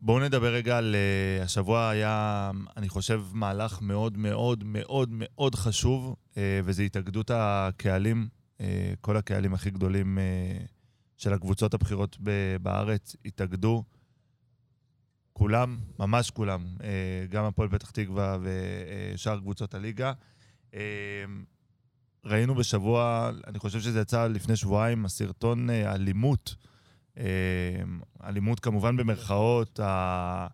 Speaker 1: בואו נדבר רגע על... אה, השבוע היה, אני חושב, מהלך מאוד מאוד מאוד מאוד חשוב, אה, וזה התאגדות הקהלים, אה, כל הקהלים הכי גדולים אה, של הקבוצות הבכירות ב- בארץ התאגדו. כולם, ממש כולם, אה, גם הפועל פתח תקווה ושאר קבוצות הליגה. אה, ראינו בשבוע, אני חושב שזה יצא לפני שבועיים, הסרטון אה, אלימות אמ, אלימות כמובן במרכאות, ה-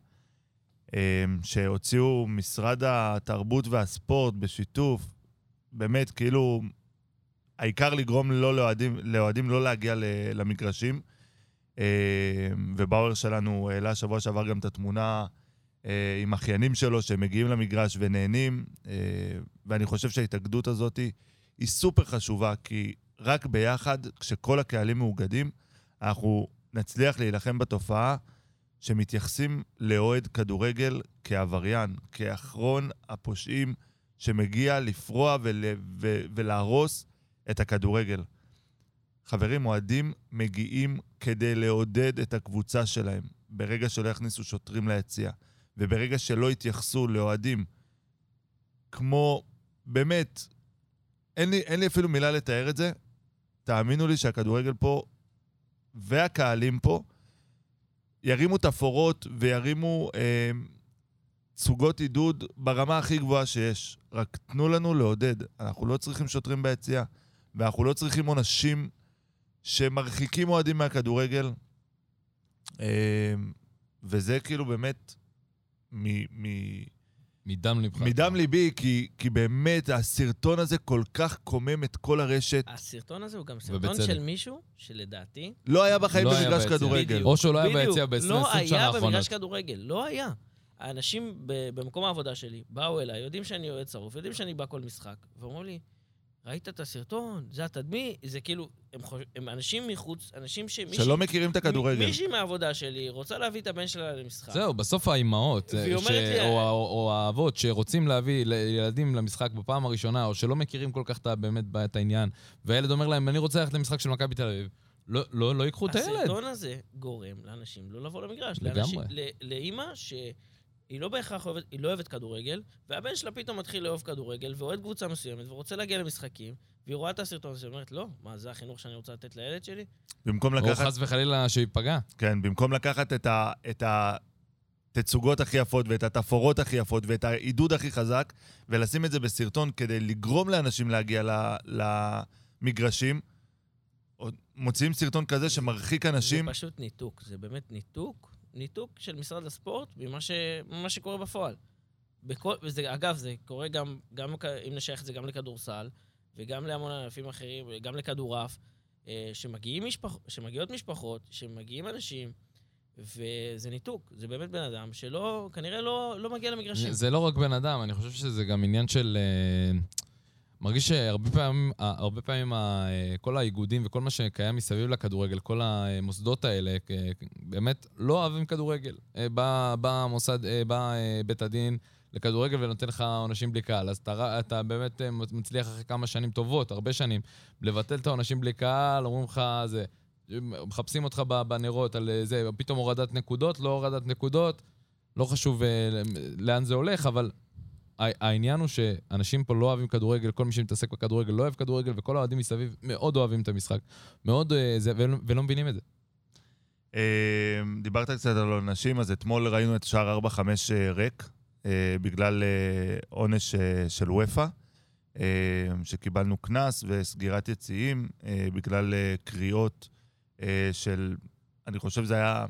Speaker 1: אמ, שהוציאו משרד התרבות והספורט בשיתוף, באמת, כאילו, העיקר לגרום לא לאוהדים, לאוהדים לא להגיע ל- למגרשים. אמ, ובאואר שלנו העלה שבוע שעבר גם את התמונה אה, עם אחיינים שלו שמגיעים למגרש ונהנים, אה, ואני חושב שההתאגדות הזאת היא סופר חשובה, כי רק ביחד, כשכל הקהלים מאוגדים, אנחנו נצליח להילחם בתופעה שמתייחסים לאוהד כדורגל כעבריין, כאחרון הפושעים שמגיע לפרוע ול, ו, ולהרוס את הכדורגל. חברים, אוהדים מגיעים כדי לעודד את הקבוצה שלהם. ברגע שלא יכניסו שוטרים ליציע, וברגע שלא יתייחסו לאוהדים כמו, באמת, אין לי, אין לי אפילו מילה לתאר את זה, תאמינו לי שהכדורגל פה והקהלים פה ירימו תפאורות וירימו אה, סוגות עידוד ברמה הכי גבוהה שיש. רק תנו לנו לעודד. אנחנו לא צריכים שוטרים ביציאה, ואנחנו לא צריכים עונשים שמרחיקים אוהדים מהכדורגל. אה, וזה כאילו באמת מ- מ-
Speaker 2: מדם לבך.
Speaker 1: מדם ליבי, כי, כי באמת הסרטון הזה כל כך קומם את כל הרשת.
Speaker 3: הסרטון הזה הוא גם סרטון
Speaker 2: ובצדק.
Speaker 3: של מישהו שלדעתי...
Speaker 1: לא היה בחיים
Speaker 2: לא היה
Speaker 1: במגרש
Speaker 2: ביציע.
Speaker 1: כדורגל.
Speaker 3: בדיוק.
Speaker 2: או שהוא לא היה
Speaker 3: בדיוק,
Speaker 2: ביציע ב-20
Speaker 3: לא
Speaker 2: שנה
Speaker 3: היה
Speaker 2: האחרונות.
Speaker 3: במגרש כדורגל, לא היה. האנשים ב- במקום העבודה שלי באו אליי, יודעים שאני אוהד שרוף, יודעים שאני בא כל משחק, ואומרים לי, ראית את הסרטון? זה התדמי? זה כאילו, הם, חוש... הם אנשים מחוץ, אנשים ש... מישהי-
Speaker 1: שלא מכירים את
Speaker 3: מ-
Speaker 1: הכדורגל.
Speaker 3: מישהי מהעבודה שלי רוצה להביא את הבן שלה למשחק.
Speaker 2: זהו, בסוף האימהות,
Speaker 3: והיא
Speaker 2: אה,
Speaker 3: אומרת לי-
Speaker 2: ש- או ה- או האבות שרוצים להביא ל- ילדים למשחק בפעם הראשונה, או שלא מכירים כל כך את ה- באמת ב- את העניין, והילד אומר להם, אני רוצה ללכת למשחק של מכבי תל אביב, לא- לא לא ייקחו את הילד.
Speaker 3: הסרטון הזה גורם לאנשים לא לבוא למגרש.
Speaker 2: לגמרי.
Speaker 3: לאנשים- ל- לאימא שהיא לא בהכרח אוהבת, היא לא אוהבת כדורגל, והבן שלה פתאום מתחיל לאהוב כדורגל, ואוהד קבוצה מסוימת, ורוצה להגיע למשחקים, והיא רואה את הסרטון הזה, ואומרת, לא, מה, זה החינוך שאני רוצה לתת לילד שלי?
Speaker 1: במקום
Speaker 2: או
Speaker 1: לקחת,
Speaker 2: חס וחלילה שייפגע.
Speaker 1: כן, במקום לקחת את ה... את ה... תצוגות הכי יפות ואת התפאורות הכי יפות ואת העידוד הכי חזק ולשים את זה בסרטון כדי לגרום לאנשים להגיע ל- למגרשים. עוד- מוציאים סרטון כזה שמרחיק אנשים.
Speaker 3: זה פשוט ניתוק, זה באמת ניתוק, ניתוק של משרד הספורט ממה ש, ממה שקורה בפועל. בכל, וזה, אגב, זה קורה גם, גם, כ- אם נשייך את זה גם לכדורסל, וגם להמון ענפים אחרים, גם לכדורעף, אה, שמגיעים משפח, שמגיעות משפחות, שמגיעים אנשים, וזה ניתוק. זה באמת בן אדם שלא, כנראה לא, לא מגיע למגרשים.
Speaker 2: זה לא רק בן אדם, אני חושב שזה גם עניין של... אה, מרגיש שהרבה פעמים, אה, הרבה פעמים ה- אה, כל האיגודים וכל מה שקיים מסביב לכדורגל, כל המוסדות האלה, אה, באמת לא אוהבים כדורגל. אה, בא, בא, מוסד, אה, בא אה, בית הדין לכדורגל ונותן לך עונשים בלי קהל, אז אתה, ר- אתה באמת אה, מצליח אחרי כמה שנים טובות, הרבה שנים, לבטל את העונשים בלי קהל, אומרים לך "אה, זה. מחפשים אותך ב- בנרות על אה, זה, פתאום הורדת נקודות, לא הורדת נקודות. לא חשוב אה, לאן זה הולך, אבל ה- העניין הוא שאנשים פה לא אוהבים כדורגל, כל מי שמתעסק בכדורגל לא אוהב כדורגל, וכל האוהדים מסביב מאוד אוהבים את המשחק. מאוד אה, זה, ולא, ולא מבינים את זה.
Speaker 1: אה, דיברת קצת על עונשים, אז אתמול ראינו את שער 4-5 אה, ריק, אה, בגלל אה, עונש אה, של וופא, אה, שקיבלנו קנס וסגירת יציאים אה, בגלל אה, קריאות אה, של, אני חושב זה היה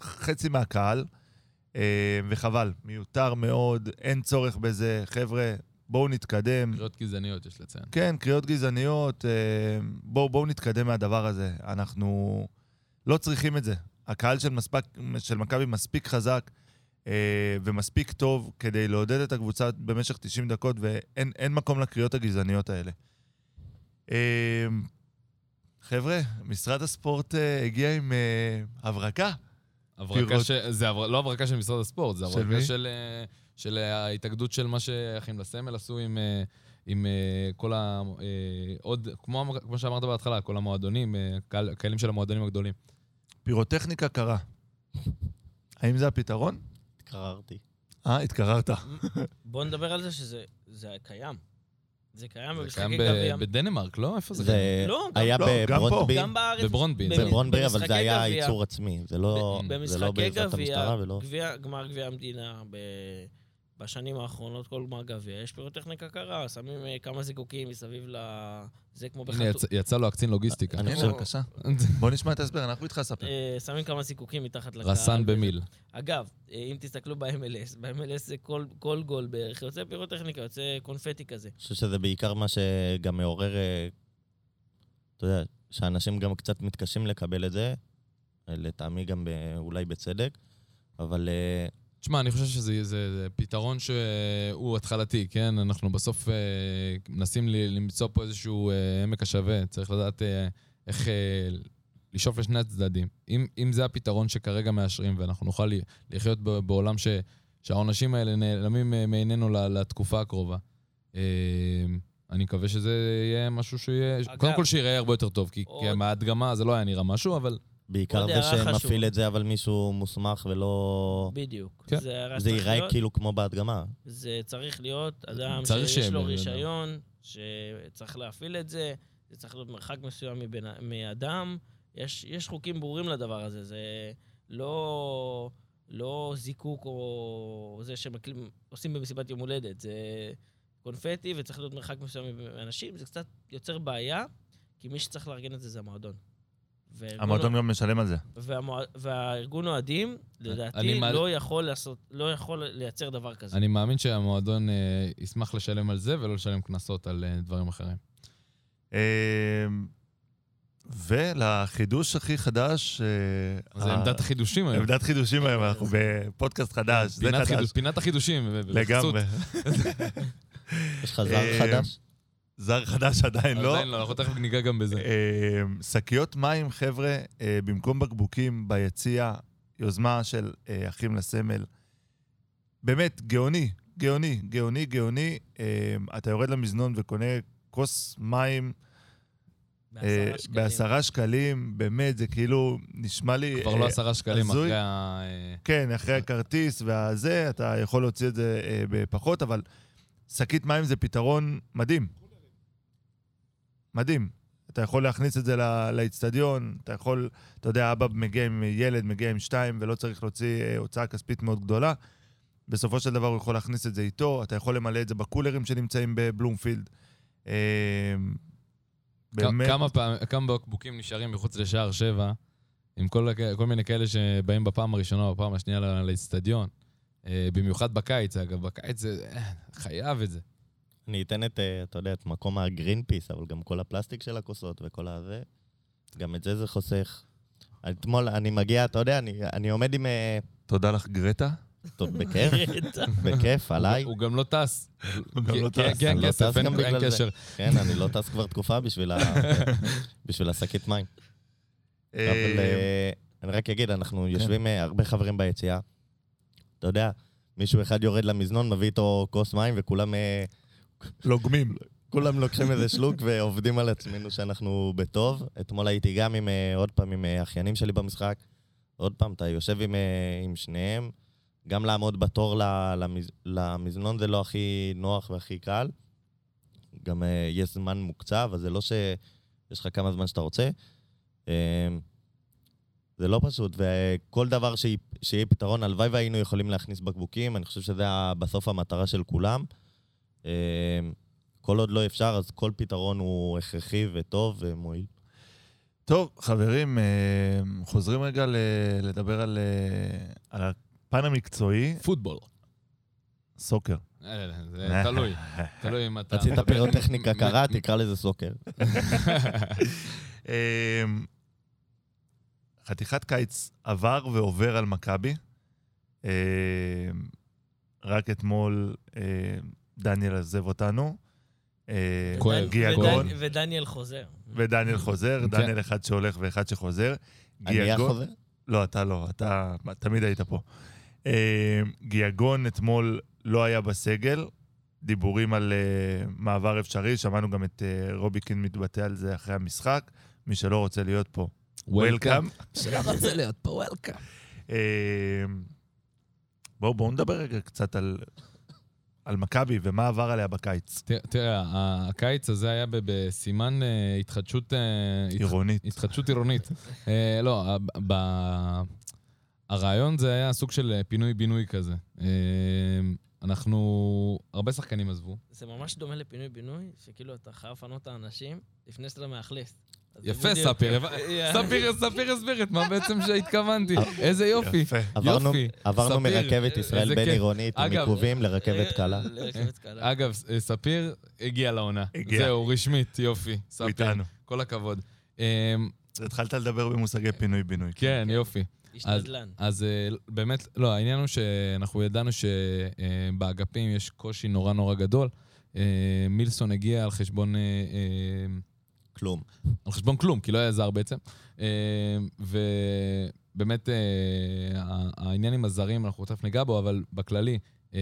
Speaker 1: חצי מהקהל, אה, וחבל, מיותר מאוד, אין צורך בזה. חבר'ה, בואו נתקדם.
Speaker 2: קריאות גזעניות, יש לציין.
Speaker 1: כן, קריאות גזעניות, אה, בואו בואו נתקדם מהדבר הזה. אנחנו לא צריכים את זה. הקהל של, מספק, של מכבי מספיק חזק אה, ומספיק טוב כדי לעודד את הקבוצה במשך 90 דקות, ואין אין מקום לקריאות הגזעניות האלה. אה, חבר'ה, משרד הספורט אה, הגיע עם אה, הברקה.
Speaker 2: הברקה
Speaker 1: פירות.
Speaker 2: ש... זה הבר... לא הברקה של משרד הספורט, זה
Speaker 1: של
Speaker 2: הברקה
Speaker 1: מי?
Speaker 2: של, אה, של ההתאגדות של מה שאחים לסמל עשו עם, אה, עם אה, כל ה... אה, עוד, כמו, אמר- כמו שאמרת בהתחלה, כל המועדונים, אה, קהל- קהלים של המועדונים הגדולים.
Speaker 1: פירוטכניקה קרה. האם זה הפתרון?
Speaker 4: התקררתי.
Speaker 1: אה, התקררת.
Speaker 3: בואו נדבר על זה שזה זה קיים. זה קיים
Speaker 2: זה
Speaker 3: במשחקי
Speaker 2: קיים
Speaker 3: גביע.
Speaker 2: ב... אה, בדנמרק, לא? איפה זה קיים?
Speaker 4: זה
Speaker 3: לא,
Speaker 4: היה
Speaker 1: גם- לא, גם פה.
Speaker 4: בברונדבי,
Speaker 3: גם בארץ.
Speaker 2: בברונדבי.
Speaker 3: במ-
Speaker 4: בברונדבי, אבל זה
Speaker 3: במשחקי גביע.
Speaker 4: היה
Speaker 3: אה,
Speaker 4: ייצור עצמי. זה לא זה לא
Speaker 3: במשחקי
Speaker 4: בעזרת
Speaker 3: גביע,
Speaker 4: המשטרה ולא...
Speaker 3: גביע, גמר גביע המדינה, ב... בשנים האחרונות, כל גמר גביע, יש פירוטכניקה קרה, שמים אה, כמה זיקוקים מסביב ל... זה כמו
Speaker 2: הנה,
Speaker 3: בחתונה.
Speaker 2: יצא, יצא לו הקצין לוגיסטיקה.
Speaker 4: אני
Speaker 1: כן,
Speaker 4: חושב- אה,
Speaker 1: בבקשה. בוא נשמע את ההסבר, אנחנו איתך ספר.
Speaker 3: אה, שמים כמה זיקוקים מתחת לקהל.
Speaker 2: רסן במיל.
Speaker 3: אגב, אה, אם תסתכלו ב-MLS, ב-MLS זה כל, כל גול בערך, יוצא פירוטכניקה, יוצא קונפטי כזה.
Speaker 2: כן.
Speaker 4: אני חושב שזה בעיקר מה שגם מעורר, אה, אתה יודע, שאנשים גם קצת מתקשים לקבל את זה, אה, לטעמי גם ב- אולי בצדק, אבל אה,
Speaker 2: תשמע, אני חושב שזה זה, זה פתרון שהוא התחלתי, כן? אנחנו בסוף אה, מנסים ל, למצוא פה איזשהו אה, עמק השווה. צריך לדעת אה, איך אה, לשאוף לשני הצדדים. אם, אם זה הפתרון שכרגע מאשרים, ואנחנו נוכל ל- לחיות ב, בעולם ש, שהעונשים האלה נעלמים אה, מעינינו ל- לתקופה הקרובה, אה, אני מקווה שזה יהיה משהו שיהיה...
Speaker 3: אגב,
Speaker 2: קודם כל שיראה הרבה יותר טוב, כי, כי
Speaker 3: עוד-
Speaker 2: מההדגמה זה לא היה נראה משהו, אבל...
Speaker 4: בעיקר
Speaker 3: עוד
Speaker 4: זה
Speaker 3: הערה חשובה.
Speaker 4: שמפעיל את זה, אבל מישהו מוסמך ולא...
Speaker 3: בדיוק.
Speaker 2: כן.
Speaker 3: זה, הערה
Speaker 4: זה
Speaker 3: שצריך
Speaker 4: ייראה
Speaker 3: להיות.
Speaker 4: כאילו כמו בהדגמה.
Speaker 3: זה צריך להיות אדם
Speaker 2: צריך
Speaker 3: שיש
Speaker 2: שיהיה
Speaker 3: לו
Speaker 2: בן אדם.
Speaker 3: רישיון, שצריך להפעיל את זה, זה צריך להיות מרחק מסוים מבין- מאדם. יש, יש חוקים ברורים לדבר הזה, זה לא, לא זיקוק או זה שעושים במסיבת יום הולדת, זה קונפטי וצריך להיות מרחק מסוים מאנשים, זה קצת יוצר בעיה, כי מי שצריך לארגן את זה זה המועדון. וארגון-
Speaker 4: לא,
Speaker 1: המועדון גם משלם על זה.
Speaker 3: והמוע- והארגון אוהדים,
Speaker 2: אני
Speaker 3: לדעתי,
Speaker 2: מעל-
Speaker 3: לא יכול לעשות- לא יכול לייצר דבר כזה.
Speaker 2: אני מאמין שהמועדון אה, ישמח לשלם על זה ולא לשלם קנסות על אה, דברים אחרים.
Speaker 1: אמ, ולחידוש הכי חדש... אה,
Speaker 2: אז זה
Speaker 1: ה-
Speaker 2: עמדת החידושים היום.
Speaker 1: עמדת חידושים היום, אנחנו בפודקאסט חדש, זה
Speaker 2: פינת
Speaker 1: חדש.
Speaker 2: חידוש- פינת החידושים. ו- ובחסות.
Speaker 1: לגמרי.
Speaker 4: יש לך זר
Speaker 1: אה,
Speaker 4: חדש?
Speaker 1: זר חדש עדיין לא.
Speaker 2: עדיין לא, אנחנו תכף ניגע גם בזה.
Speaker 1: אמ, שקיות מים, חבר'ה, אה, במקום בקבוקים ביציע, יוזמה של אה, אחים לסמל. באמת, גאוני, גאוני, גאוני, גאוני. אמ, אתה יורד למזנון וקונה כוס מים אה,
Speaker 3: שקלים.
Speaker 1: בעשרה שקלים, באמת, זה כאילו נשמע לי...
Speaker 2: כבר
Speaker 1: אה,
Speaker 2: לא עשרה שקלים
Speaker 1: הזוי.
Speaker 2: אחרי ה... אה,
Speaker 1: כן, אחרי הכרטיס והזה, אתה יכול להוציא את זה אה, בפחות, אבל שקית מים זה פתרון מדהים. מדהים. אתה יכול להכניס את זה ל- לאיצטדיון, אתה יכול, אתה יודע, אבא מגיע עם ילד, מגיע עם שתיים, ולא צריך להוציא אה, הוצאה כספית מאוד גדולה. בסופו של דבר הוא יכול להכניס את זה איתו, אתה יכול למלא את זה בקולרים שנמצאים בבלומפילד. אה,
Speaker 2: כ- כמה פעם- כמה בקבוקים נשארים מחוץ לשער שבע, עם כל הכ- כל מיני כאלה שבאים בפעם הראשונה או בפעם השנייה ל- לאצטדיון. אה, במיוחד בקיץ, אגב, בקיץ זה... אה, חייב את זה.
Speaker 4: אני אתן את, אה, אתה יודע, את מקום הגרין פיס, אבל גם כל הפלסטיק של הכוסות וכל הזה, גם את זה זה חוסך. אתמול אני מגיע, אתה יודע, אני, אני עומד עם... אה,
Speaker 1: תודה לך, גרטה.
Speaker 4: טוב, בכיף,
Speaker 3: אתה-
Speaker 4: בכיף, עליי.
Speaker 2: הוא גם לא טס.
Speaker 1: הוא גם לא
Speaker 2: כי- כי-
Speaker 1: טס.
Speaker 2: כי אין
Speaker 4: הוא לא
Speaker 2: כסף,
Speaker 4: טס
Speaker 2: אין
Speaker 4: גם
Speaker 2: אין
Speaker 4: בגלל זה.
Speaker 2: קשר.
Speaker 4: כן, אני לא טס כבר תקופה בשביל ה- בשביל השקית מים. אבל אה, אני רק אגיד, אנחנו
Speaker 2: כן.
Speaker 4: יושבים אה, הרבה חברים ביציאה. אתה יודע, מישהו אחד יורד למזנון, מביא איתו כוס מים, וכולם אה,
Speaker 1: לוגמים.
Speaker 4: כולם לוקחים איזה שלוק ועובדים על עצמנו שאנחנו בטוב. אתמול הייתי גם עם, אה, עוד פעם, עם אה, אחיינים שלי במשחק. עוד פעם, אתה יושב עם, אה, עם שניהם, גם לעמוד בתור ל- למז- למזנון זה לא הכי נוח והכי קל. גם אה, יש זמן מוקצב, אז זה לא שיש לך כמה זמן שאתה רוצה. אה, זה לא פשוט, וכל דבר שי- שיהיה פתרון, הלוואי והיינו יכולים להכניס בקבוקים, אני חושב שזה ה- בסוף המטרה של כולם. אה, כל עוד לא אפשר, אז כל פתרון הוא הכרחי וטוב ומועיל.
Speaker 1: טוב, חברים, אה, חוזרים רגע ל- לדבר על, אה, על הפן המקצועי,
Speaker 2: פוטבול.
Speaker 1: סוקר.
Speaker 2: אה, אה, זה תלוי, תלוי אם אתה...
Speaker 4: רצית פירוטכניקה קרה, תקרא לזה סוקר.
Speaker 1: אמ, חתיכת קיץ עבר ועובר על מכבי. אמ, רק אתמול אמ, דניאל עזב אותנו. אמ,
Speaker 2: כואב,
Speaker 1: גיאגון,
Speaker 2: כואב.
Speaker 3: ודני- ודניאל חוזר.
Speaker 1: ודניאל חוזר,
Speaker 2: כן.
Speaker 1: דניאל אחד שהולך ואחד שחוזר.
Speaker 4: אני
Speaker 1: גיאגון-
Speaker 4: החובר?
Speaker 1: לא, אתה לא, אתה תמיד היית פה. אה, גיאגון אתמול לא היה בסגל, דיבורים על אה, מעבר אפשרי, שמענו גם את אה, רוביקין מתבטא על זה אחרי המשחק. מי שלא רוצה להיות פה, וולקאם.
Speaker 2: שלא רוצה להיות פה, וולקאם.
Speaker 1: אה, בואו בואו נדבר רגע קצת על, על מכבי ומה עבר עליה בקיץ.
Speaker 2: תראה, ה- הקיץ הזה היה ב- בסימן אה, התחדשות... אה, התח-
Speaker 1: עירונית.
Speaker 2: התחדשות עירונית. אה, לא, ה- ב- הרעיון זה היה סוג של אה, פינוי-בינוי כזה. אה, אנחנו... הרבה שחקנים עזבו.
Speaker 3: זה ממש דומה לפינוי-בינוי, שכאילו אתה חייב לפנות את האנשים לפני שאתה מאכלס. אז זה
Speaker 2: יפה,
Speaker 3: בדיוק.
Speaker 2: ספיר. הבנ-
Speaker 3: אה,
Speaker 2: ספיר, ספיר הסביר את מה בעצם שהתכוונתי. איזה יופי.
Speaker 1: יפה.
Speaker 4: עברנו-
Speaker 2: יופי,
Speaker 4: עברנו
Speaker 2: ספיר,
Speaker 4: מרכבת
Speaker 2: איזה
Speaker 4: ישראל
Speaker 2: כיף.
Speaker 4: בין-עירונית, עם
Speaker 2: אגב, אה,
Speaker 4: עיכובים לרכבת קלה.
Speaker 3: לרכבת אה, קלה.
Speaker 2: אגב, ס- אה, ספיר הגיע לעונה.
Speaker 1: הגיע.
Speaker 2: זהו, רשמית, יופי.
Speaker 1: הוא
Speaker 2: ספיר,
Speaker 1: איתנו.
Speaker 2: כל הכבוד. אמ,
Speaker 1: התחלת לדבר במושגי פינוי-בינוי.
Speaker 2: כן, יופי.
Speaker 3: איש נדל"ן.
Speaker 2: אז אה, באמת, לא, העניין הוא שאנחנו ידענו שבאגפים יש קושי נורא נורא גדול. אה, מילסון הגיע על חשבון אה, אה,
Speaker 4: כלום.
Speaker 2: על חשבון כלום, כי לא היה זר בעצם. אה, ובאמת, אה, ה- העניין עם הזרים, אנחנו תכף ניגע בו, אבל בכללי, אה,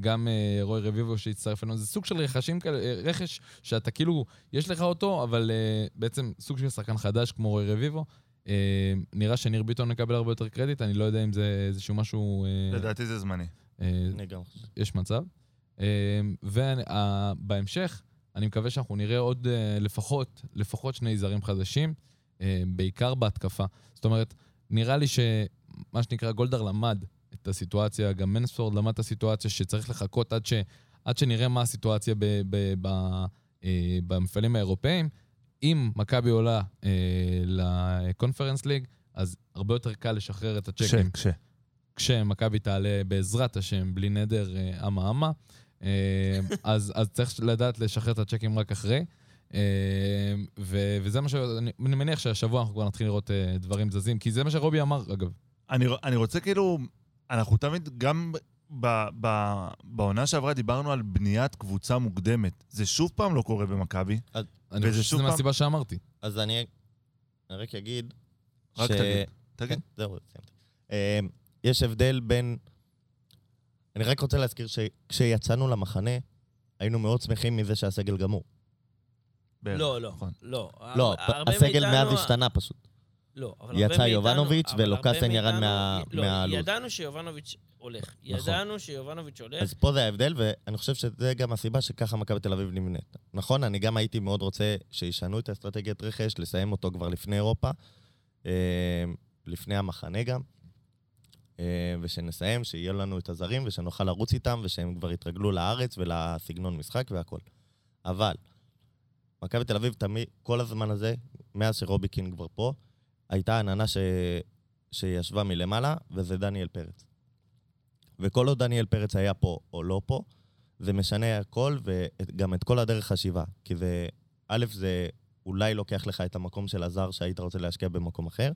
Speaker 2: גם אה, רוי רביבו שהצטרף אלינו, זה סוג של רכשים כאלה, אה, רכש שאתה כאילו, יש לך אותו, אבל אה, בעצם סוג של שחקן חדש כמו רוי רביבו. אה, נראה שניר ביטון מקבל הרבה יותר קרדיט, אני לא יודע אם זה איזשהו משהו... אה,
Speaker 1: לדעתי זה זמני.
Speaker 2: אה,
Speaker 4: אני גם חושב.
Speaker 2: יש מצב. אמ, ובהמשך, אני מקווה שאנחנו נראה עוד אה, לפחות, לפחות שני זרים חדשים, אה, בעיקר בהתקפה. זאת אומרת, נראה לי שמה שנקרא גולדהר למד את הסיטואציה, גם מנספורד למד את הסיטואציה שצריך לחכות עד, ש, עד שנראה מה הסיטואציה ב, ב, ב, אה, במפעלים האירופאיים. אם מכבי עולה אה, לקונפרנס ליג, אז הרבה יותר קל לשחרר את הצ'קים.
Speaker 1: ש- ש-
Speaker 2: כשמכבי תעלה בעזרת השם, בלי נדר, אה, אמה אמה, אה, אז, אז צריך לדעת לשחרר את הצ'קים רק אחרי. אה, ו, וזה מה ש... אני אני מניח שהשבוע אנחנו כבר נתחיל לראות אה, דברים זזים, כי זה מה שרובי אמר, אגב.
Speaker 1: אני, אני רוצה כאילו, אנחנו תמיד, גם ב, ב, בעונה שעברה דיברנו על בניית קבוצה מוקדמת. זה שוב פעם לא קורה במכבי.
Speaker 2: אני
Speaker 1: וזה
Speaker 2: חושב
Speaker 1: שוב
Speaker 2: שזה
Speaker 1: פעם-
Speaker 2: מהסיבה שאמרתי.
Speaker 4: אז אני אני רק אגיד...
Speaker 1: רק
Speaker 4: ש-
Speaker 1: תגיד,
Speaker 4: כן,
Speaker 1: תגיד.
Speaker 4: זהו, סיימתי. אמ, יש הבדל בין... אני רק רוצה להזכיר שכשיצאנו למחנה, היינו מאוד שמחים מזה שהסגל גמור.
Speaker 2: אה,
Speaker 1: בערך.
Speaker 3: לא, לא,
Speaker 1: נכון.
Speaker 3: לא.
Speaker 4: לא,
Speaker 3: הרבה
Speaker 4: הסגל
Speaker 3: מאיתנו-
Speaker 4: מאז השתנה פשוט.
Speaker 3: לא, אבל
Speaker 4: יצא
Speaker 3: הרבה מאיתנו-
Speaker 4: יובנוביץ'
Speaker 3: אבל הרבה
Speaker 4: ולוקאסן ירד
Speaker 3: מאיתנו-
Speaker 4: מה-
Speaker 3: לא,
Speaker 4: מהלו"ז.
Speaker 3: ידענו שיובנוביץ' הולך.
Speaker 4: נכון.
Speaker 3: ידענו שיובנוביץ' הולך.
Speaker 4: אז פה זה ההבדל, ואני חושב שזה גם הסיבה שככה מכבי תל אביב נמנית. נכון, אני גם הייתי מאוד רוצה שישנו את האסטרטגיית רכש, לסיים אותו כבר לפני אירופה, אמ, לפני המחנה גם, אמ, ושנסיים, שיהיו לנו את הזרים, ושנוכל לרוץ איתם, ושהם כבר יתרגלו לארץ ולסגנון משחק והכול. אבל, מכבי תל אביב תמיד, כל הזמן הזה, מאז שרוביקין כבר פה, הייתה עננה ש... שישבה מלמעלה, וזה דניאל פרץ. וכל עוד דניאל פרץ היה פה או לא פה, זה משנה הכל וגם את כל הדרך חשיבה. כי זה, א', זה אולי לוקח לך את המקום של הזר שהיית רוצה להשקיע במקום אחר,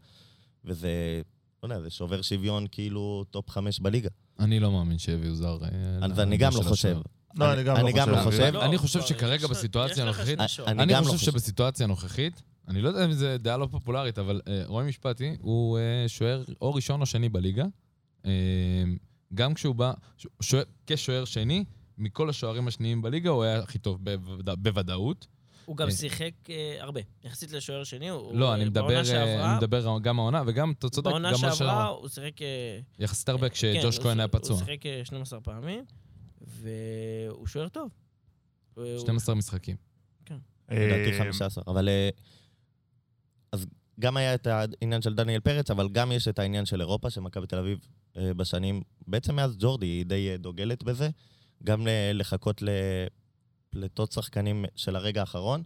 Speaker 4: וזה, לא יודע, זה שובר שוויון כאילו טופ חמש בליגה.
Speaker 2: אני לא מאמין שהביאו זר. אה,
Speaker 4: אז אני גם
Speaker 2: של
Speaker 4: לא חושב.
Speaker 2: השוער.
Speaker 1: לא, אני גם לא חושב.
Speaker 4: חושב.
Speaker 3: לא,
Speaker 2: אני חושב
Speaker 3: אבל
Speaker 2: שכרגע
Speaker 3: יש לך-
Speaker 2: בסיטואציה
Speaker 3: יש לך
Speaker 2: הנוכחית- אה,
Speaker 3: שני שוערים.
Speaker 4: אני
Speaker 2: אני
Speaker 4: גם לא
Speaker 2: חושב
Speaker 4: חושב.
Speaker 2: שבסיטואציה הנוכחית, אני לא יודע אם זו דעה לא פופולרית, אבל אה, רועי משפטי הוא אה, שוער או ראשון או שני בליגה. אה, גם כשהוא בא, ש- שוער- כשוער שני, מכל השוערים השניים בליגה הוא היה הכי טוב בוודא- בוודאות.
Speaker 3: הוא גם
Speaker 2: אה.
Speaker 3: שיחק אה, הרבה. יחסית לשוער שני, הוא...
Speaker 2: לא,
Speaker 3: אה,
Speaker 2: אני מדבר,
Speaker 3: בעונה
Speaker 2: אה,
Speaker 3: שעברה-
Speaker 2: אני מדבר גם העונה וגם, אתה צודק,
Speaker 3: בעונה
Speaker 2: גם מה
Speaker 3: שעברה
Speaker 2: שעברה.
Speaker 3: הוא שיחק... אה,
Speaker 2: יחסית הרבה
Speaker 3: אה,
Speaker 2: כשג'וש
Speaker 3: כן,
Speaker 2: כהן
Speaker 3: הוא-
Speaker 2: היה פצוע.
Speaker 3: הוא שיחק אה, 12 פעמים, והוא שוער טוב. והוא-
Speaker 2: 12 משחקים.
Speaker 4: לדעתי
Speaker 1: אה,
Speaker 4: 15, אבל... אה, אז גם היה את העניין של דניאל פרץ, אבל גם יש את העניין של אירופה, שמכבי תל אביב אה, בשנים, בעצם מאז ג'ורדי היא די אה, דוגלת בזה, גם ל- לחכות ל- לפלטות שחקנים של הרגע האחרון,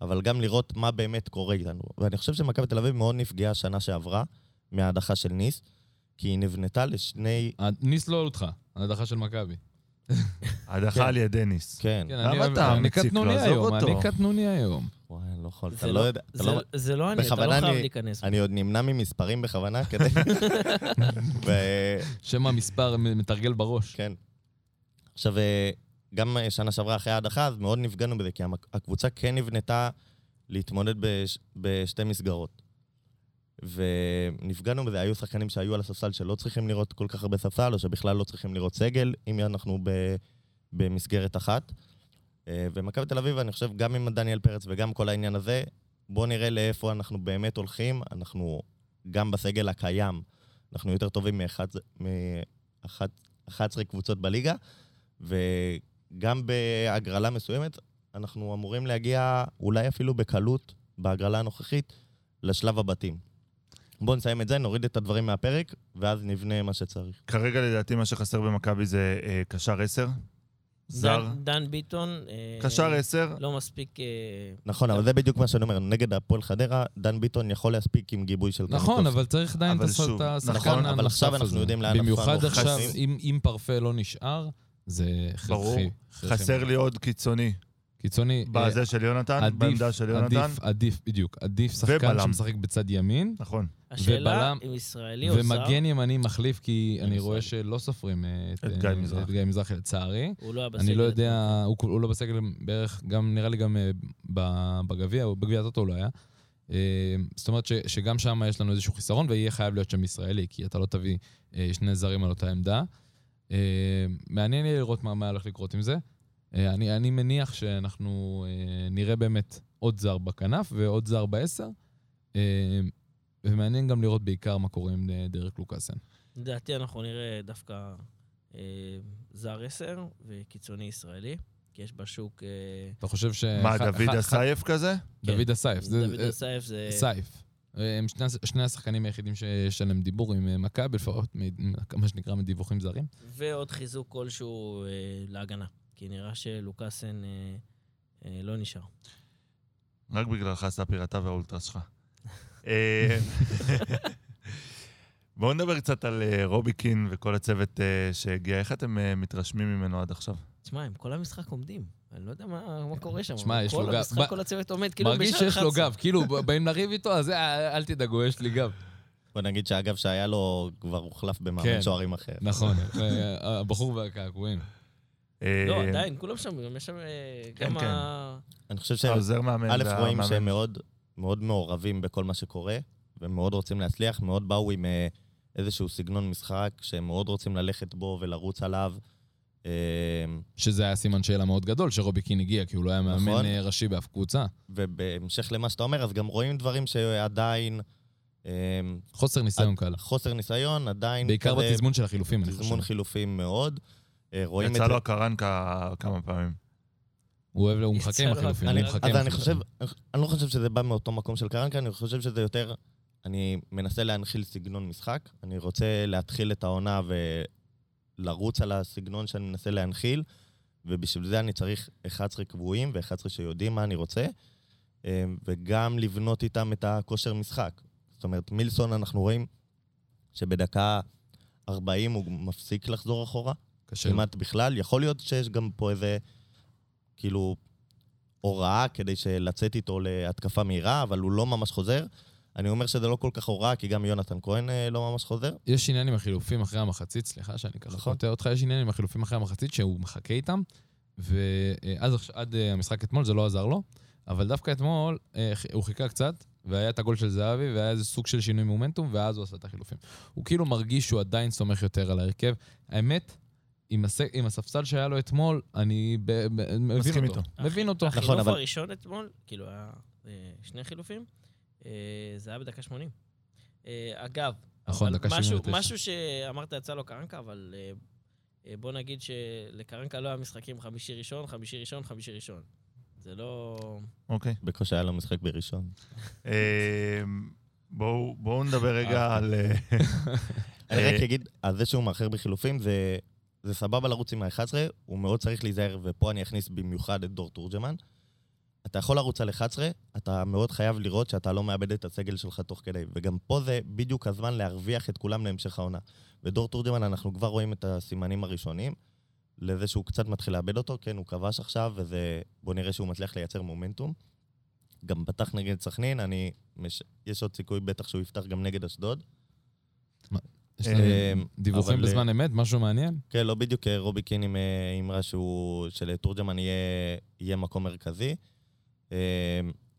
Speaker 4: אבל גם לראות מה באמת קורה איתנו. ואני חושב שמכבי תל אביב מאוד נפגעה שנה שעברה מההדחה של
Speaker 2: אה,
Speaker 4: ניס, כי היא נבנתה לשני...
Speaker 2: ניס לא הודחה, ההדחה של מכבי.
Speaker 1: הדחה
Speaker 4: כן.
Speaker 1: על ידי ניס.
Speaker 4: כן.
Speaker 2: כן,
Speaker 1: למה
Speaker 2: אני אוהב-
Speaker 1: אתה
Speaker 2: אני
Speaker 1: מציק לו?
Speaker 2: קטנוני
Speaker 1: עזוב
Speaker 2: היום,
Speaker 1: אותו.
Speaker 2: אני קטנוני היום.
Speaker 4: וואי, אני לא יכול, אתה
Speaker 3: זה
Speaker 4: לא
Speaker 3: לא-
Speaker 4: יודע, אתה
Speaker 3: זה-
Speaker 4: לא...
Speaker 3: זה לא אני, אתה לא
Speaker 4: בכוונה
Speaker 3: חייב
Speaker 4: אני-
Speaker 3: להיכנס.
Speaker 4: אני עוד נמנע ממספרים בכוונה כדי... ו-
Speaker 2: שם המספר מ- מתרגל בראש.
Speaker 4: כן. עכשיו, אה, גם אה, שנה שעברה אחרי ההדחה, אז מאוד נפגענו בזה, כי המק- הקבוצה כן נבנתה להתמודד בש, בשתי מסגרות. ונפגענו בזה, היו שחקנים שהיו על הספסל שלא צריכים לראות כל כך הרבה ספסל, או שבכלל לא צריכים לראות סגל, אם אנחנו ב, במסגרת אחת. אה, ומכבי תל אביב, אני חושב, גם עם דניאל פרץ וגם כל העניין הזה, בואו נראה לאיפה אנחנו באמת הולכים. אנחנו, גם בסגל הקיים, אנחנו יותר טובים מאחת, מאחת 11 קבוצות בליגה, וגם בהגרלה מסוימת, אנחנו אמורים להגיע אולי אפילו בקלות, בהגרלה הנוכחית, לשלב הבתים. בואו נסיים את זה, נוריד את הדברים מהפרק, ואז נבנה מה שצריך.
Speaker 1: כרגע לדעתי מה שחסר במכבי זה אה, קשר 10. זר.
Speaker 3: דן- דן ביטון... אה,
Speaker 1: קשר 10,
Speaker 3: לא מספיק... אה,
Speaker 4: נכון, אבל זה בדיוק מה שאני אומר, נגד הפועל חדרה, דן ביטון יכול להספיק עם גיבוי של
Speaker 2: נכון,
Speaker 4: קניקובסקי.
Speaker 2: אבל צריך עדיין
Speaker 1: אבל
Speaker 2: את השחק-
Speaker 1: שוב,
Speaker 2: את השחקן הנוסף הזה.
Speaker 1: נכון,
Speaker 4: אבל עכשיו אנחנו יודעים לאן אנחנו
Speaker 2: במיוחד
Speaker 4: הולכים.
Speaker 2: עכשיו,
Speaker 1: חס-
Speaker 2: אם- אם פרפה לא נשאר, זה
Speaker 1: ברור.
Speaker 2: הכרחי. הכרחי.
Speaker 1: חסר לי עוד קיצוני.
Speaker 2: קיצוני. אה,
Speaker 1: בזה של יונתן,
Speaker 2: עדיף-
Speaker 1: בעמדה של יונתן.
Speaker 2: עדיף, עדיף, בדיוק. עדיף שחקן
Speaker 1: ובלם.
Speaker 2: שמשחק בצד ימין,
Speaker 1: נכון.
Speaker 3: השאלה
Speaker 2: ובלם-
Speaker 3: אם ישראלי או זר,
Speaker 2: ומגן ימני מחליף, כי
Speaker 4: אין
Speaker 2: אני
Speaker 4: ישראלי.
Speaker 2: רואה שלא סופרים אה,
Speaker 1: את
Speaker 2: אה,
Speaker 1: גיא מזרחי.
Speaker 2: את גיא מזרחי, לצערי.
Speaker 3: הוא לא היה בסגל. אוקיי.
Speaker 2: אני לא יודע, הוא כול- הוא לא בסגל בערך, גם נראה לי גם אה, ב- בגביע, או בגביע הטוטו הוא לא היה. אה, זאת אומרת ש- שגם שם יש לנו איזשהו חיסרון, ויהיה חייב להיות שם ישראלי, כי אתה לא תביא אה, שני זרים על אותה עמדה. אה, מעניין יהיה לראות מה מה הולך לקרות עם זה. אה, אני אני מניח שאנחנו אה, נראה באמת עוד זר בכנף ועוד זר בעשר, אה, ומעניין גם לראות בעיקר מה קורה עם אה, דרק לוקאסן.
Speaker 3: לדעתי אנחנו נראה דווקא אה, זר 10 וקיצוני ישראלי, כי יש בשוק... אה,
Speaker 2: אתה חושב ש...
Speaker 1: מה,
Speaker 2: ח-
Speaker 1: דוד
Speaker 2: ח-
Speaker 1: אסייף כזה?
Speaker 3: כן.
Speaker 2: דוד אסייף. זה-
Speaker 3: דוד
Speaker 2: אה,
Speaker 3: אסייף זה...
Speaker 2: סייף. הם שני, שני השחקנים היחידים שיש עליהם דיבור עם אה, מכבי, לפחות מ- מה שנקרא מדיווחים זרים.
Speaker 3: ועוד חיזוק כלשהו אה, להגנה, כי נראה שלוקאסן אה, אה, לא נשאר.
Speaker 1: רק בגללך, ספיר, אתה והאולטרס שלך. אה, בואו נדבר קצת על אה, רובי קין וכל הצוות אה, שהגיע. איך אתם אה, מתרשמים ממנו עד עכשיו?
Speaker 3: תשמע, הם כל המשחק עומדים. אני לא יודע מה מה קורה שם.
Speaker 2: תשמע,
Speaker 3: אבל
Speaker 2: יש לו גב.
Speaker 3: כל
Speaker 2: ב-
Speaker 3: המשחק, כל הצוות עומד, כאילו
Speaker 2: מרגיש
Speaker 3: בשעה
Speaker 2: שיש לו
Speaker 3: 11.
Speaker 2: גב, כאילו ב- באים לריב איתו, אז אה, אל תדאגו, יש לי גב.
Speaker 4: בוא נגיד שאגב, שהיה לו, כבר הוחלף במאמן
Speaker 2: כן.
Speaker 4: שוערים אחר.
Speaker 2: נכון, אה, הבחור והקעקועים.
Speaker 1: אה,
Speaker 3: לא, עדיין, כולם שם, גם יש שם אה,
Speaker 1: כן,
Speaker 3: גם
Speaker 1: כן.
Speaker 3: ה...
Speaker 4: אני חושב שהם
Speaker 1: העוזר מאמן
Speaker 4: א', רואים
Speaker 1: והמאמן.
Speaker 4: שהם מאוד, מאוד מעורבים בכל מה שקורה, והם מאוד רוצים להצליח, מאוד באו עם אה, איזשהו סגנון משחק, שהם מאוד רוצים ללכת בו ולרוץ עליו. אה,
Speaker 2: שזה היה סימן שאלה מאוד גדול, שרובי קין הגיע, כי הוא לא היה מאמן
Speaker 4: נכון.
Speaker 2: אה, ראשי באף קבוצה.
Speaker 4: ובהמשך למה שאתה אומר, אז גם רואים דברים שעדיין... אה,
Speaker 2: חוסר ניסיון קל.
Speaker 4: חוסר ניסיון, עדיין...
Speaker 2: בעיקר
Speaker 4: כזה
Speaker 2: בתזמון של החילופים, אני חושב.
Speaker 4: תזמון חילופים מאוד. אה, רואים את
Speaker 1: יצא
Speaker 4: זה...
Speaker 1: לו הקרנקה כמה פעמים.
Speaker 2: הוא אוהב, הוא מחכה
Speaker 3: יצא
Speaker 2: עם
Speaker 3: לו-
Speaker 2: החילופים, הוא
Speaker 4: אני,
Speaker 2: מחכה עם
Speaker 4: אז אני חושב,
Speaker 2: החילופים.
Speaker 4: אני לא חושב שזה בא מאותו מקום של קרנקה, אני חושב שזה יותר, אני מנסה להנחיל סגנון משחק, אני רוצה להתחיל את העונה ולרוץ על הסגנון שאני מנסה להנחיל, ובשביל זה אני צריך 11 קבועים ו-11 שיודעים מה אני רוצה, אה, וגם לבנות איתם את הכושר משחק. זאת אומרת, מילסון אנחנו רואים שבדקה 40 הוא מפסיק לחזור אחורה.
Speaker 2: קשה לו.
Speaker 4: כמעט בכלל. יכול להיות שיש גם פה איזה, כאילו, הוראה כדי של- לצאת איתו להתקפה מהירה, אבל הוא לא ממש חוזר. אני אומר שזה לא כל כך הוראה, כי גם יונתן כהן אה, לא ממש חוזר.
Speaker 2: יש עניין עם החילופים אחרי המחצית, סליחה שאני ככה
Speaker 4: נכון.
Speaker 2: קוטע אותך, יש עניין עם החילופים אחרי המחצית שהוא מחכה איתם, ואז עכש- עד אה, המשחק אתמול זה לא עזר לו, אבל דווקא אתמול אה, ח- הוא חיכה קצת, והיה את הגול של זהבי, והיה איזה סוג של שינוי מומנטום, ואז הוא עשה את החילופים. הוא כאילו מרגיש שהוא עדיין סומך יותר על ההרכב. האמת, עם, הס... עם הספסל שהיה לו אתמול, אני ב... ב... מבין
Speaker 1: מסכים
Speaker 2: אותו.
Speaker 3: איתו.
Speaker 2: מבין אותו.
Speaker 4: נכון,
Speaker 3: החילוף
Speaker 4: אבל-
Speaker 3: הראשון אתמול, כאילו, היה אה, שני חילופים, אה, זה היה בדקה 80. אה, אגב,
Speaker 2: נכון,
Speaker 3: אבל
Speaker 2: דקה
Speaker 3: משהו-
Speaker 2: 79.
Speaker 3: משהו שאמרת יצא לו קרנקה, אבל אה, אה, בוא נגיד שלקרנקה לא היה משחקים חמישי ראשון, חמישי ראשון, חמישי ראשון. זה לא...
Speaker 1: אוקיי.
Speaker 4: בקושי היה לו משחק בראשון.
Speaker 1: אה, בואו בואו נדבר רגע על... אה,
Speaker 4: אני
Speaker 1: אה,
Speaker 4: רק אגיד, אז זה שהוא מאחר בחילופים, זה, זה סבבה לרוץ עם ה-11, הוא מאוד צריך להיזהר, ופה אני אכניס במיוחד את דור תורג'מן. אתה יכול לרוץ על 11, אתה מאוד חייב לראות שאתה לא מאבד את הסגל שלך תוך כדי. וגם פה זה בדיוק הזמן להרוויח את כולם להמשך העונה. ודור תורג'מן, אנחנו כבר רואים את הסימנים הראשונים. לזה שהוא קצת מתחיל לאבד אותו, כן, הוא כבש עכשיו, וזה... בוא נראה שהוא מצליח לייצר מומנטום. גם פתח נגד סכנין, אני... מש... יש עוד סיכוי בטח שהוא יפתח גם נגד אשדוד.
Speaker 2: יש לנו
Speaker 4: אמ,
Speaker 2: דיווחים
Speaker 4: אבל,
Speaker 2: בזמן אמת, משהו מעניין?
Speaker 4: כן, לא בדיוק אה, רובי קין עם אה, אמרה שהוא... שלתורג'מן יהיה, יהיה מקום מרכזי. אמ,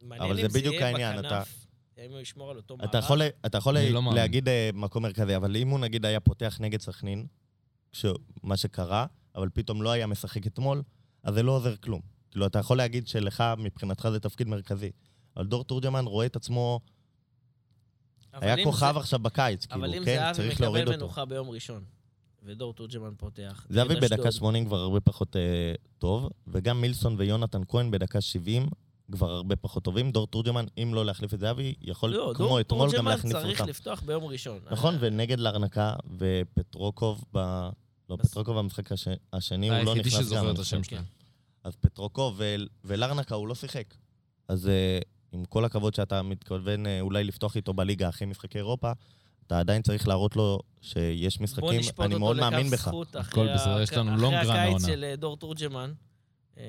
Speaker 3: מעניין
Speaker 4: אבל
Speaker 3: אם
Speaker 4: זה בדיוק
Speaker 3: יהיה
Speaker 4: העניין, אתה-
Speaker 3: בכנף, אם הוא ישמור על אותו מערך.
Speaker 4: אתה יכול, אתה יכול
Speaker 2: אני לא מאמין.
Speaker 4: להגיד אה, מקום מרכזי, אבל אם הוא נגיד היה פותח נגד סכנין, כש- מה שקרה, אבל פתאום לא היה משחק אתמול, אז זה לא עוזר כלום. כאילו, אתה יכול להגיד שלך, מבחינתך זה תפקיד מרכזי. אבל דור תורג'מן רואה את עצמו,
Speaker 3: אבל
Speaker 4: היה
Speaker 3: אם
Speaker 4: כוכב
Speaker 3: זה-
Speaker 4: עכשיו בקיץ,
Speaker 3: אבל אם
Speaker 4: כאילו, כן,
Speaker 3: זהבי
Speaker 4: צריך להוריד
Speaker 3: מקבל
Speaker 4: אותו.
Speaker 3: מנוחה ביום ראשון, ודור תורג'מן פותח.
Speaker 4: זהבי
Speaker 3: נגד
Speaker 4: בדקה
Speaker 3: אשדוד,
Speaker 4: 80 כבר הרבה פחות אה, טוב, וגם מילסון ויונתן כהן בדקה 70 כבר הרבה פחות טובים. דור תורג'מן, אם לא להחליף את זהבי, יכול
Speaker 3: לא,
Speaker 4: כמו
Speaker 3: דור
Speaker 4: אתמול גם
Speaker 3: תורג'מן
Speaker 4: להכניס
Speaker 3: צריך אה.
Speaker 4: אותם.
Speaker 3: לפתוח ביום ראשון.
Speaker 4: נכון, ונגד לארנקה ופטרוקוב ב... לא,
Speaker 3: בס-
Speaker 4: פטרוקוב במשחק הש- השני, הוא לא
Speaker 2: אה, היחידי
Speaker 4: נכנס גם.
Speaker 2: שזוכר את
Speaker 4: אני
Speaker 2: השם
Speaker 4: חושב.
Speaker 2: שלהם.
Speaker 4: אז פטרוקוב ו- ולארנקה הוא לא שיחק. אז אה, עם כל הכבוד שאתה מתכוון אה, אולי לפתוח איתו בליגה אחרי משחקי אירופה, אתה עדיין צריך להראות לו שיש משחקים, אני מאוד מאמין בך.
Speaker 3: בוא נשפוט אותו לכף זכות
Speaker 2: הכל
Speaker 3: אחרי
Speaker 2: בסדר,
Speaker 3: ה-
Speaker 2: יש לנו
Speaker 3: אחרי
Speaker 2: לונג רן
Speaker 3: הקיץ
Speaker 2: העונה.
Speaker 3: של אה, דור תורג'מן. אה,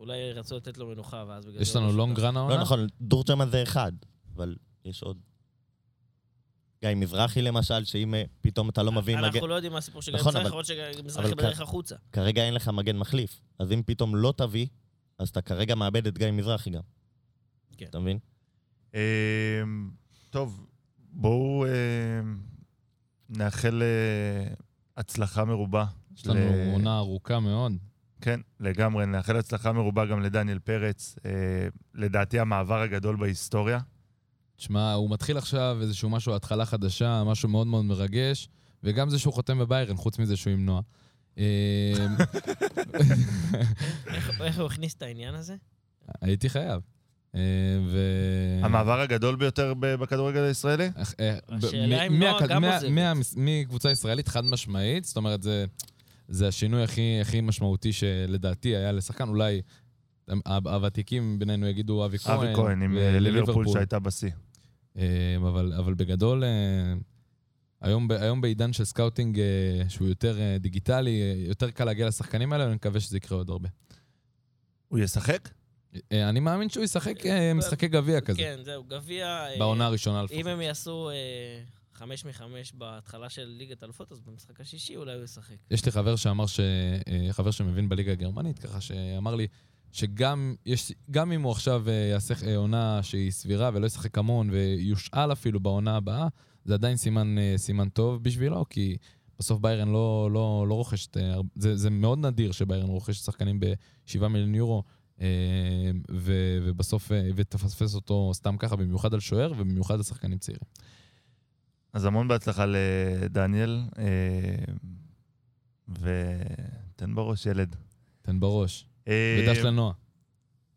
Speaker 3: אולי רצו לתת לו מנוחה, ואז בגלל
Speaker 2: יש
Speaker 3: זה
Speaker 2: לנו
Speaker 3: לא
Speaker 2: לונג
Speaker 3: שותף.
Speaker 2: רן
Speaker 4: לא
Speaker 2: העונה?
Speaker 4: נכון, דורג'מן זה אחד, אבל יש עוד. גיא מזרחי למשל, שאם אה, פתאום אתה לא מבין... מגן-
Speaker 3: אנחנו לא יודעים מה הסיפור של גן
Speaker 4: נכון,
Speaker 3: מזרחי,
Speaker 4: אבל-
Speaker 3: יכול להיות שגן מזרחי
Speaker 4: אבל
Speaker 3: בדרך
Speaker 4: כ-
Speaker 3: החוצה.
Speaker 4: כרגע אין לך מגן מחליף, אז אם פתאום לא תביא, אז אתה כרגע מאבד את גיא מזרחי גם.
Speaker 3: כן.
Speaker 4: אתה מבין?
Speaker 1: אמ, טוב, בואו אמ, נאחל אה, הצלחה מרובה.
Speaker 2: יש לנו
Speaker 1: ל-
Speaker 2: עונה ארוכה מאוד.
Speaker 1: כן, לגמרי. נאחל הצלחה מרובה גם לדניאל פרץ. אה, לדעתי המעבר הגדול בהיסטוריה.
Speaker 2: תשמע, הוא מתחיל עכשיו איזשהו משהו, התחלה חדשה, משהו מאוד מאוד מרגש, וגם זה שהוא חותם בביירן, חוץ מזה שהוא עם נועה. אה,
Speaker 3: איך- איך הוא הכניס את העניין הזה?
Speaker 2: הייתי חייב. אה, ו... כן.
Speaker 1: המעבר הגדול ביותר ב- בכדורגל הישראלי?
Speaker 2: אך- אה, ב-
Speaker 3: השאלה
Speaker 2: מ-
Speaker 3: אם נועה
Speaker 2: מהכד-
Speaker 3: גם
Speaker 2: מה-
Speaker 3: עוזבת.
Speaker 2: מה- מקבוצה ישראלית חד משמעית, זאת אומרת, זה- זה השינוי הכי הכי משמעותי שלדעתי היה לשחקן, אולי ה- הוותיקים בינינו יגידו אבי כהן.
Speaker 1: אבי כהן עם אה, ליברפול שהייתה בשיא.
Speaker 2: אה, אבל, אבל בגדול, אה, היום, ב- היום בעידן של סקאוטינג אה, שהוא יותר אה, דיגיטלי, אה, יותר קל להגיע לשחקנים האלה, ואני מקווה שזה יקרה עוד הרבה.
Speaker 1: הוא ישחק?
Speaker 2: אה, אני מאמין שהוא ישחק אה,
Speaker 3: ב-
Speaker 2: משחקי גביע כזה,
Speaker 3: כן, זהו, גביע... אה,
Speaker 2: בעונה הראשונה לפחות.
Speaker 3: אם הם יעשו אה, חמש מחמש בהתחלה של ליגת אלופות, אז במשחק השישי אולי הוא ישחק.
Speaker 2: יש לי חבר שאמר, ש... אה, חבר שמבין בליגה הגרמנית, ככה שאמר לי שגם יש... גם אם הוא עכשיו אה, יעשה אה, עונה שהיא סבירה ולא ישחק המון ויושאל אפילו בעונה הבאה, זה עדיין סימן, אה, סימן טוב בשבילו, כי בסוף ביירן לא, לא, לא רוכשת... אה, הר- זה, זה מאוד נדיר שביירן רוכשת שחקנים ב-7 מיליון יורו, אה, ו, ובסוף... אה, ותפספס אותו סתם ככה, במיוחד על שוער ובמיוחד על שחקנים צעירים.
Speaker 1: אז המון בהצלחה לדניאל, אה, ותן בראש ילד.
Speaker 2: תן בראש.
Speaker 1: אה,
Speaker 2: ודש לנועה.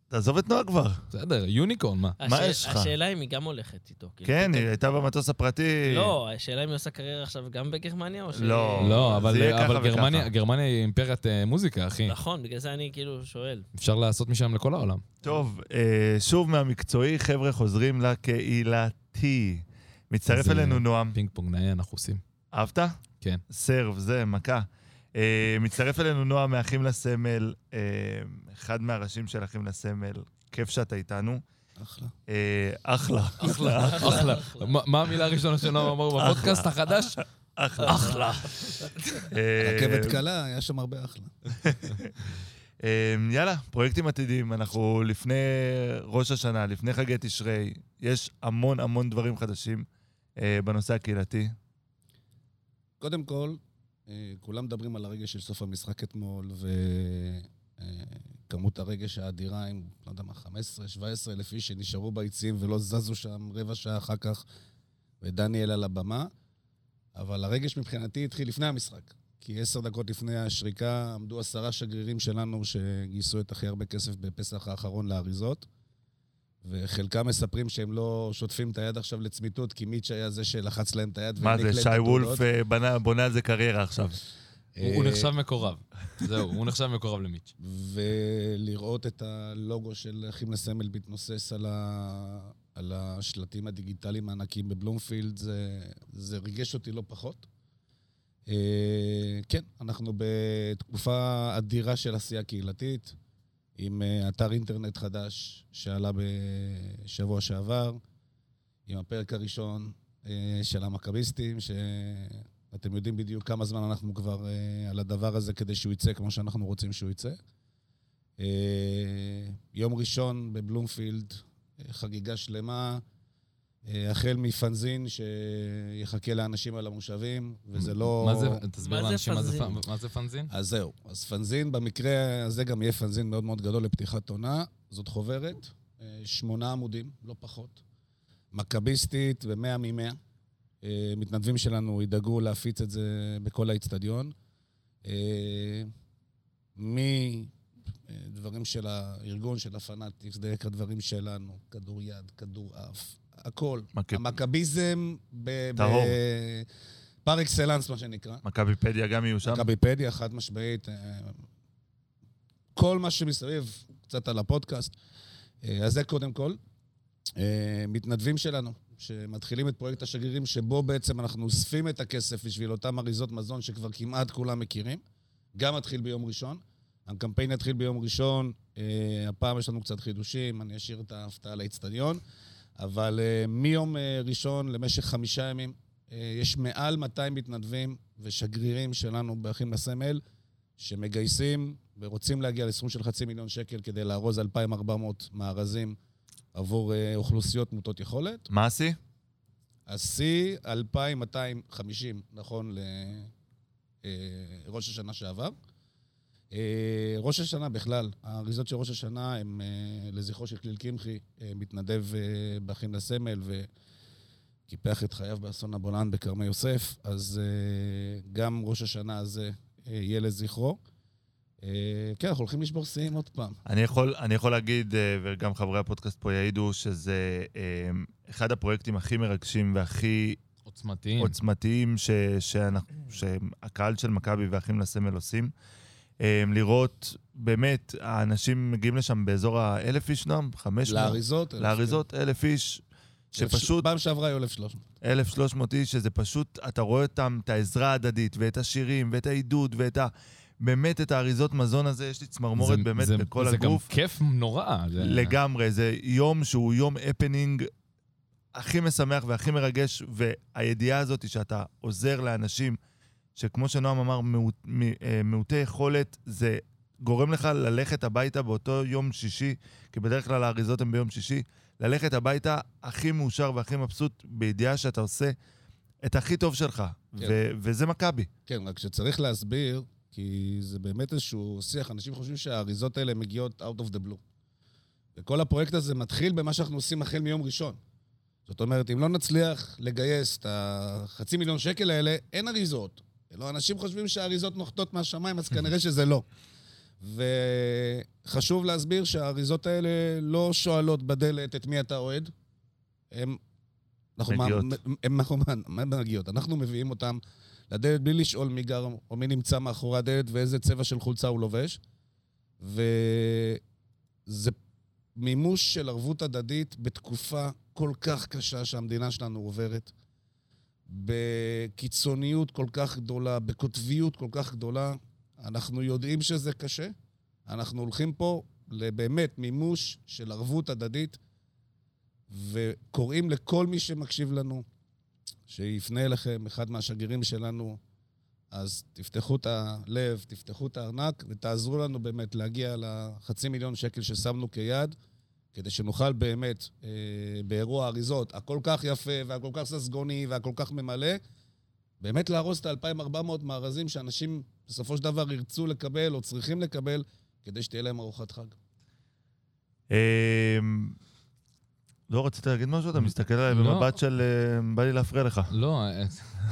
Speaker 1: תעזוב את נועה כבר.
Speaker 2: בסדר, יוניקורן, מה?
Speaker 1: מה
Speaker 3: השאל-
Speaker 1: יש לך?
Speaker 3: השאלה אם היא גם הולכת איתו. כאילו,
Speaker 1: כן,
Speaker 3: פתאום-
Speaker 1: היא הייתה במטוס הפרטי.
Speaker 3: לא, השאלה אם היא עושה קריירה עכשיו גם בגרמניה, או ש...
Speaker 1: לא.
Speaker 2: לא,
Speaker 1: זה
Speaker 2: אבל,
Speaker 1: יהיה
Speaker 2: אבל
Speaker 1: ככה
Speaker 2: גרמניה,
Speaker 1: וככה.
Speaker 2: גרמניה היא אימפריית אה, מוזיקה, אחי.
Speaker 3: נכון, בגלל זה אני כאילו שואל.
Speaker 2: אפשר לעשות משם לכל העולם.
Speaker 1: טוב, אה, שוב מהמקצועי, חבר'ה חוזרים לקהילתי. מצטרף
Speaker 2: אז,
Speaker 1: אלינו
Speaker 2: אה,
Speaker 1: נועם.
Speaker 2: פינג פונג, נאה אנחנו עושים.
Speaker 1: אהבת?
Speaker 2: כן.
Speaker 1: סרב, זה, מכה. אה, מצטרף אלינו נועם מאחים לסמל, אה, אחד מהראשים של אחים לסמל. כיף שאתה איתנו.
Speaker 4: אחלה.
Speaker 1: אה, אחלה.
Speaker 2: אחלה, אחלה. מה- מה המילה הראשונה שלנו אמרו בפודקאסט החדש?
Speaker 1: אחלה. אחלה. אה,
Speaker 5: רכבת קלה, היה שם הרבה אחלה.
Speaker 1: אמ, יאללה, פרויקטים עתידיים. אנחנו לפני ראש השנה, לפני חגי תשרי, יש המון המון דברים חדשים אה, בנושא הקהילתי.
Speaker 5: קודם כל, אה, כולם מדברים על הרגע של סוף המשחק אתמול, וכמות הרגש האדירה עם, לא יודע מה, 15-17 אלף איש שנשארו ביציעים ולא זזו שם רבע שעה אחר כך, ודניאל על הבמה. אבל הרגש מבחינתי התחיל לפני המשחק. כי עשר דקות לפני השריקה עמדו עשרה שגרירים שלנו שגייסו את הכי הרבה כסף בפסח האחרון לאריזות, וחלקם מספרים שהם לא שוטפים את היד עכשיו לצמיתות, כי מיץ' היה זה שלחץ להם את היד
Speaker 1: מה
Speaker 5: והעניק
Speaker 1: זה,
Speaker 5: להם את
Speaker 1: שי
Speaker 5: התעודות.
Speaker 1: וולף אה, בנה- בונה על זה קריירה עכשיו.
Speaker 2: הוא
Speaker 5: אה,
Speaker 2: הוא נחשב מקורב. זהו, הוא נחשב מקורב למיץ'.
Speaker 5: ולראות את הלוגו של אחים לסמל מתנוסס על, ה... על השלטים הדיגיטליים הענקיים בבלומפילד, זה... זה ריגש אותי לא פחות. אה, כן, אנחנו בתקופה אדירה של עשייה קהילתית, עם אה, אתר אינטרנט חדש שעלה בשבוע שעבר, עם הפרק הראשון אה, של המכביסטים, שאתם יודעים בדיוק כמה זמן אנחנו כבר אה, על הדבר הזה כדי שהוא יצא כמו שאנחנו רוצים שהוא יצא. אה, יום ראשון בבלומפילד, אה, חגיגה שלמה, אה, החל מפנזין שיחכה לאנשים על המושבים, וזה לא...
Speaker 2: מה זה, תסביר
Speaker 3: מה זה
Speaker 2: לאנשים מה זה
Speaker 3: פנזין?
Speaker 2: פ- מה זה פנזין?
Speaker 5: אז זהו. אז פנזין, במקרה הזה גם יהיה פנזין מאוד מאוד גדול לפתיחת עונה. זאת חוברת, אה, שמונה עמודים, לא פחות. מכביסטית ב-100 מ-100. אה, מתנדבים שלנו ידאגו להפיץ את זה בכל האיצטדיון. אה, מדברים של הארגון, של הפנאטיקס, דרך הדברים שלנו, כדור יד, כדור אף, הכל.
Speaker 1: מכ-
Speaker 5: המכביזם ב-
Speaker 1: כן. טהור.
Speaker 5: ב- פר אקסלנס, מה שנקרא.
Speaker 1: מכביפדיה גם יהיו שם.
Speaker 5: מכביפדיה, חד משמעית. אה, כל מה שמסביב, קצת על הפודקאסט. אה, אז זה קודם כל. אה, מתנדבים שלנו, שמתחילים את פרויקט השגרירים, שבו בעצם אנחנו אוספים את הכסף בשביל אותם אריזות מזון שכבר כמעט כולם מכירים. גם מתחיל ביום ראשון. הקמפיין יתחיל ביום ראשון, אה, הפעם יש לנו קצת חידושים, אני אשאיר את ההפתעה לאצטדיון, אבל אה, מיום אה, ראשון למשך חמישה ימים, אה, יש מעל 200 מתנדבים ושגרירים שלנו באחים לסמל, שמגייסים ורוצים להגיע לסכום של חצי מיליון שקל כדי לארוז 2,400 מארזים עבור אה, אוכלוסיות מוטות יכולת.
Speaker 1: מה עשי?
Speaker 5: השיא, 2,250, נכון ל- אה, ראש השנה שעבר. אה, ראש השנה בכלל, האריזות של ראש השנה הן אה, לזכרו של כליל קמחי, אה, מתנדב אה, באחים לסמל וקיפח את חייו באסון הבולען בכרמי יוסף, אז אה, גם ראש השנה הזה אה, יהיה לזכרו. אה, כן, אנחנו הולכים לשבור שיאים עוד פעם.
Speaker 1: אני יכול, אני יכול להגיד, אה, וגם חברי הפודקאסט פה יעידו, שזה אה, אחד הפרויקטים הכי מרגשים והכי
Speaker 2: עוצמתיים.
Speaker 1: עוצמתיים ש, שאנחנו, שהקהל של מכבי ואחים לסמל עושים. אה, לראות, באמת, האנשים מגיעים לשם באזור האלף איש נועם, חמש מאות,
Speaker 5: לאריזות.
Speaker 2: כן.
Speaker 1: לאריזות, אלף איש,
Speaker 5: אלף-
Speaker 1: שפשוט
Speaker 5: פעם שעברה היו 1,300.
Speaker 1: 1,300 איש, שזה פשוט, אתה רואה אותם, את העזרה ההדדית, ואת השירים, ואת העידוד, ואת ה... באמת, את האריזות מזון הזה, יש לי צמרמורת
Speaker 2: זה-
Speaker 1: באמת
Speaker 2: זה-
Speaker 1: בכל
Speaker 2: זה גם
Speaker 1: הגוף.
Speaker 2: כיף נורא. זה-
Speaker 1: לגמרי, זה יום שהוא יום הפנינג הכי משמח והכי מרגש, והידיעה הזאת היא שאתה עוזר לאנשים, שכמו שנועם אמר, מעוט- מ- אה, מעוטי יכולת, זה גורם לך ללכת הביתה באותו יום שישי, כי בדרך כלל האריזות הן ביום שישי, ללכת הביתה הכי מאושר והכי מבסוט, בידיעה שאתה עושה את הכי טוב שלך,
Speaker 5: כן.
Speaker 1: ו- וזה מכבי.
Speaker 5: כן, רק שצריך להסביר, כי זה באמת איזשהו שיח, אנשים חושבים שהאריזות האלה מגיעות out of the blue. וכל הפרויקט הזה מתחיל במה שאנחנו עושים החל מיום ראשון. זאת אומרת, אם לא נצליח לגייס את החצי מיליון שקל האלה, אין אריזות. לא, אנשים חושבים שהאריזות נוחתות מהשמיים, אז כנראה שזה לא. וחשוב להסביר שהאריזות האלה לא שואלות בדלת את מי אתה אוהד. הם... אנחנו מה-
Speaker 1: מגיעות.
Speaker 5: הם אנחנו מה- מה מגיעות? אנחנו מביאים אותם לדלת בלי לשאול מי גר או מי נמצא מאחורי הדלת ואיזה צבע של חולצה הוא לובש. וזה מימוש של ערבות הדדית בתקופה כל כך קשה שהמדינה שלנו עוברת, בקיצוניות כל כך גדולה, בקוטביות כל כך גדולה. אנחנו יודעים שזה קשה, אנחנו הולכים פה לבאמת מימוש של ערבות הדדית, וקוראים לכל מי שמקשיב לנו, שיפנה אליכם, אחד מהשגרירים שלנו, אז תפתחו את הלב, תפתחו את הארנק ותעזרו לנו באמת להגיע לחצי מיליון שקל ששמנו כיעד, כדי שנוכל באמת, אה, באירוע האריזות הכל כך יפה והכל כך ססגוני והכל כך ממלא, באמת לארוז את ה-2,400 מארזים שאנשים בסופו של דבר ירצו לקבל או צריכים לקבל, כדי שתהיה להם ארוחת חג.
Speaker 1: אמ, לא, רצית להגיד משהו? אתה מסתכל עליי
Speaker 2: לא.
Speaker 1: במבט של... אמ, בא לי להפריע לך.
Speaker 2: לא,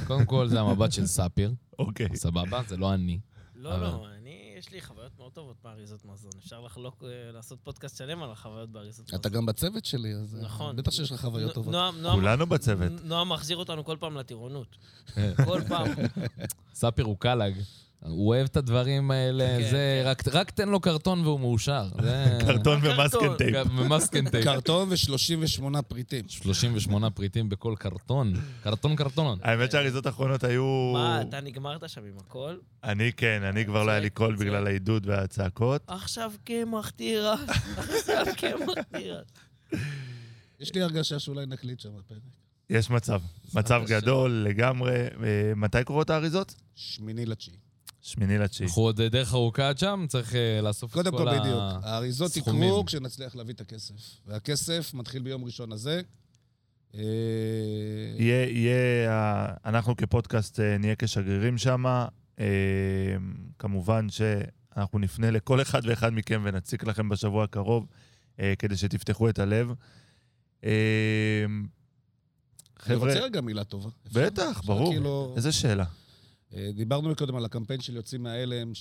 Speaker 2: קודם כל זה המבט של ספיר,
Speaker 1: אוקיי.
Speaker 2: סבבה? זה לא אני.
Speaker 3: לא,
Speaker 2: אבל-
Speaker 3: לא, אני, יש לי חוויות מאוד טובות באריזות מזון. אפשר לחלוק, אה, לעשות פודקאסט שלם על החוויות באריזות מזון.
Speaker 5: אתה גם בצוות שלי, אז אה,
Speaker 3: נכון.
Speaker 5: בטח שיש לך חוויות
Speaker 3: נו-
Speaker 5: טובות.
Speaker 3: נועם- נועם-
Speaker 1: כולנו בצוות.
Speaker 3: נועם מחזיר אותנו כל פעם לטירונות.
Speaker 2: אה,
Speaker 3: כל פעם.
Speaker 2: ספיר הוא קלאג. הוא אוהב את הדברים האלה,
Speaker 3: כן,
Speaker 2: זה,
Speaker 3: כן.
Speaker 2: רק- רק תן לו קרטון והוא מאושר. זה-
Speaker 1: קרטון
Speaker 3: לא, קרטון.
Speaker 1: ומסקנטייפ.
Speaker 2: גם מסקנטייפ.
Speaker 5: קרטון ו-38 פריטים.
Speaker 2: 38 פריטים בכל קרטון. קרטון קרטון.
Speaker 1: האמת שהאריזות האחרונות היו...
Speaker 3: כן. מה, אתה נגמרת שם עם הכל?
Speaker 1: אני כן, אני כבר לא היה לי קול
Speaker 3: צועק.
Speaker 1: בגלל העידוד והצעקות.
Speaker 3: עכשיו קמח תירס, עכשיו קמח תירס.
Speaker 5: יש לי הרגשה שאולי נקליט שם הפרק.
Speaker 1: יש מצב, מצב
Speaker 2: קשה.
Speaker 1: גדול לגמרי. אה, מתי קורות האריזות?
Speaker 5: שמיני לתשיעי.
Speaker 1: שמיני לתשיעי.
Speaker 3: נכון.
Speaker 2: אנחנו עוד אה, דרך ארוכה עד שם, צריך אה, לאסוף את כל ה...
Speaker 5: קודם כל, בדיוק. האריזות
Speaker 2: סכומים.
Speaker 5: יקרו כשנצליח להביא את הכסף. והכסף מתחיל ביום ראשון הזה. אה,
Speaker 1: יהיה, יהיה, ה- אנחנו כפודקאסט אה, נהיה כשגרירים שם. כמובן שאנחנו נפנה לכל אחד ואחד מכם ונציק לכם בשבוע הקרוב, אה, כדי שתפתחו את הלב. אה,
Speaker 5: אני
Speaker 1: חבר'ה,
Speaker 5: רוצה רגע מילה טובה. אפשר?
Speaker 1: בטח,
Speaker 5: אפשר
Speaker 1: ברור.
Speaker 5: כאילו-
Speaker 1: איזה שאלה.
Speaker 5: אה, דיברנו קודם על הקמפיין של יוצאים מההלם,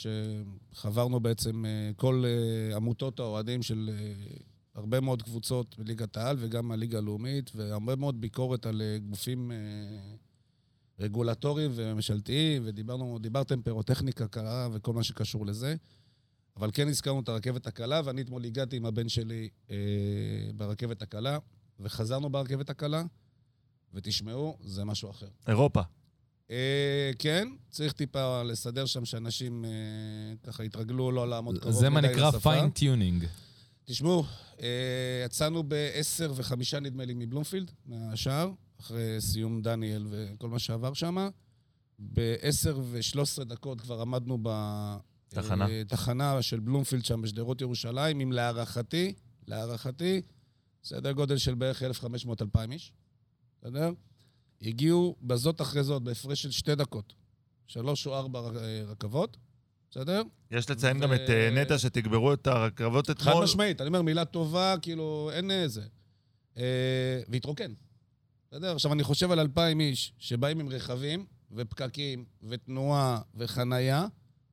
Speaker 5: שחברנו בעצם אה, כל אה, עמותות האוהדים של אה, הרבה מאוד קבוצות בליגת העל וגם הליגה הלאומית, והרבה מאוד ביקורת על אה, גופים אה, רגולטוריים וממשלתיים, ודיברנו, דיברתם פירוטכניקה קרה וכל מה שקשור לזה. אבל כן הזכרנו את הרכבת הקלה, ואני אתמול הגעתי עם הבן שלי אה, ברכבת הקלה, וחזרנו ברכבת הקלה, ותשמעו, זה משהו אחר.
Speaker 1: אירופה.
Speaker 5: אה, כן, צריך טיפה לסדר שם שאנשים אה, ככה יתרגלו לא לעמוד קרוב
Speaker 2: זה מה
Speaker 5: מדי
Speaker 2: נקרא
Speaker 5: לשפה.
Speaker 2: פיינטיונינג.
Speaker 5: תשמעו, אה, יצאנו ב-10 וחמישה נדמה לי מבלומפילד, מהשער, אחרי סיום דניאל וכל מה שעבר שם. ב-10 ו-13 דקות כבר עמדנו ב...
Speaker 1: תחנה.
Speaker 5: אה, תחנה של בלומפילד שם בשדרות ירושלים, עם להערכתי, להערכתי, סדר גודל של בערך 1,500-2,000 איש, בסדר? הגיעו בזאת אחרי זאת, בהפרש של שתי דקות, שלוש או ארבע אה, רכבות, בסדר?
Speaker 1: יש לציין גם
Speaker 5: ו-
Speaker 1: את אה, נטע שתגברו את הרכבות
Speaker 5: חד
Speaker 1: אתמול.
Speaker 5: משמעית, אני אומר מילה טובה, כאילו, אין איזה. אה, והתרוקן. בסדר? עכשיו, אני חושב על אלפיים איש שבאים עם רכבים, ופקקים, ותנועה, וחנייה,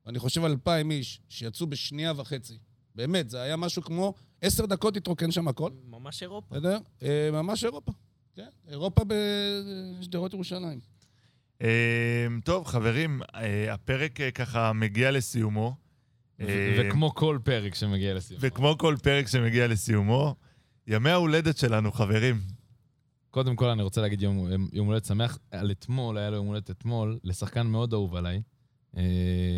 Speaker 5: ואני חושב על אלפיים איש שיצאו בשנייה וחצי. באמת, זה היה משהו כמו עשר דקות התרוקן שם הכל,
Speaker 3: ממש אירופה.
Speaker 5: בסדר? אה, ממש אירופה. כן, אירופה בשדרות ירושלים.
Speaker 1: אה, טוב, חברים, אה, הפרק אה, ככה מגיע לסיומו.
Speaker 2: ו-
Speaker 1: אה,
Speaker 2: וכמו כל פרק שמגיע לסיום.
Speaker 1: וכמו כל פרק שמגיע לסיומו, ימי ההולדת שלנו, חברים.
Speaker 2: קודם כל, אני רוצה להגיד יום, יום הולדת שמח. על אתמול, היה לו יום הולדת אתמול, לשחקן מאוד אהוב עליי. אה,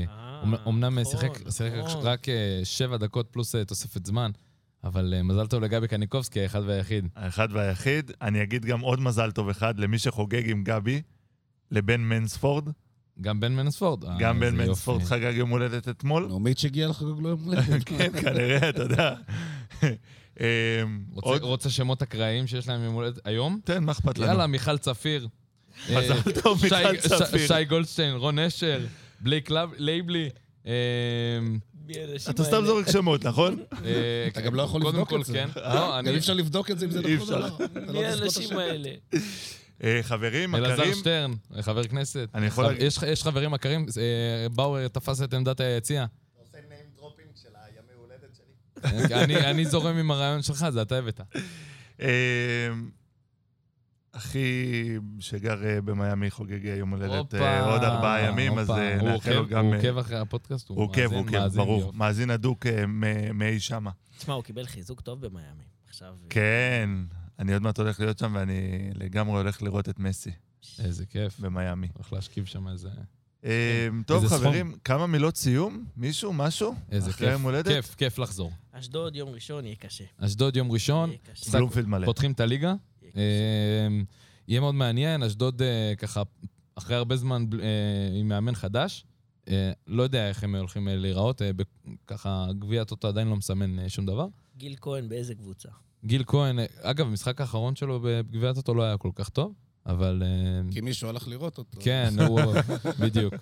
Speaker 3: אה,
Speaker 2: אומנ- אומנם
Speaker 3: נכון,
Speaker 2: שיחק שיחק
Speaker 3: נכון.
Speaker 2: רק אה, שבע דקות פלוס אה, תוספת זמן, אבל אה, מזל טוב לגבי קניקובסקי, האחד והיחיד.
Speaker 1: האחד והיחיד. אני אגיד גם עוד מזל טוב אחד למי שחוגג עם גבי, לבן מנספורד.
Speaker 2: גם בן מנספורד. אה,
Speaker 1: גם בן
Speaker 2: איזה
Speaker 1: מנספורד
Speaker 2: יופי.
Speaker 1: חגג יום הולדת אתמול.
Speaker 5: נו, מיץ' הגיע לחגוג לו לא יום הולדת.
Speaker 1: כן, כנראה, אתה יודע. אמ,
Speaker 2: רוצה-
Speaker 1: עוד?
Speaker 2: רוצה שמות אקראיים שיש להם יום הולדת היום?
Speaker 1: תן, מה אכפת לנו?
Speaker 2: יאללה, מיכל צפיר.
Speaker 1: מזל
Speaker 2: אה,
Speaker 1: טוב,
Speaker 2: שי-
Speaker 1: מיכל
Speaker 2: ש-
Speaker 1: צפיר.
Speaker 2: שי גולדשטיין, רון אשל, בלייק לב- לייבלי. אה,
Speaker 3: מי האנשים
Speaker 1: אתה סתם
Speaker 3: האלה?
Speaker 1: זורק שמות, נכון?
Speaker 2: אה,
Speaker 5: אתה גם לא יכול לבדוק
Speaker 2: קודם
Speaker 5: את
Speaker 2: כל,
Speaker 5: זה.
Speaker 2: כן.
Speaker 1: אה?
Speaker 2: לא,
Speaker 5: גם אי
Speaker 2: אני...
Speaker 5: אפשר לבדוק את זה אם זה
Speaker 1: אי
Speaker 5: נכון או לא. אתה לא
Speaker 3: מי
Speaker 5: תזכור את
Speaker 3: האנשים
Speaker 5: השם.
Speaker 3: האלה?
Speaker 1: אה, חברים,
Speaker 2: אלעזר
Speaker 1: מכרים,
Speaker 2: שטרן, אה, חבר כנסת.
Speaker 1: אני יכול להגיד-
Speaker 2: יש- יש חברים עקרים, אה, באואר תפס את עמדת היציע.
Speaker 4: אתה עושה name dropping של הימי הולדת שלי?
Speaker 2: אוקיי, אני- אני זורם עם הרעיון שלך, זה אתה הבאת. אה,
Speaker 1: אמ, אחי שגר אה, במיאמי חוגג יום הולדת
Speaker 2: הופה,
Speaker 1: אה, עוד ארבעה ימים, אז
Speaker 2: הופה.
Speaker 1: אה,
Speaker 2: הוא
Speaker 1: נאחל
Speaker 2: עוקב-
Speaker 1: לו גם...
Speaker 2: הוא
Speaker 1: אה,
Speaker 2: עוקב אחרי הפודקאסט,
Speaker 1: הוא עוקב,
Speaker 2: מאזין,
Speaker 1: הוא עוקב,
Speaker 2: מאזין,
Speaker 1: ברור.
Speaker 2: יופי.
Speaker 1: מאזין הדוק אה, מ- מאי שמה.
Speaker 3: תשמע, הוא קיבל חיזוק טוב במיאמי. עכשיו...
Speaker 1: כן, אני עוד מעט הולך להיות שם ואני לגמרי הולך לראות את מסי
Speaker 2: איזה כיף.
Speaker 1: במיאמי.
Speaker 2: הולך להשכיב שם איזה...
Speaker 1: אה, טוב,
Speaker 2: כן. איזה
Speaker 1: חברים, כמה מילות סיום? מישהו? משהו?
Speaker 2: איזה
Speaker 1: אחרי
Speaker 2: כיף.
Speaker 1: יום הולדת?
Speaker 2: כיף, כיף לחזור.
Speaker 3: אשדוד, יום ראשון, יהיה קשה.
Speaker 2: אשדוד יום ראשון,
Speaker 3: יהיה קשה.
Speaker 2: סק-
Speaker 1: בלומפילד מלא.
Speaker 2: פותחים את הליגה.
Speaker 3: יהיה
Speaker 2: כן. אה,
Speaker 3: קשה.
Speaker 2: יהיה מאוד מעניין, אשדוד אה, ככה, אחרי הרבה זמן בל- אה, עם מאמן חדש. אה, לא יודע איך הם הולכים אה, להיראות, אה, ב- ככה גביע הטוטו עדיין לא מסמן אה, שום דבר.
Speaker 3: גיל כהן באיזה קבוצה?
Speaker 2: גיל כהן, אה, אגב, המשחק האחרון שלו בגביע הטוטו לא היה כל כך טוב, אבל... אה,
Speaker 5: כי מישהו הלך לראות אותו.
Speaker 2: כן, הוא... בדיוק.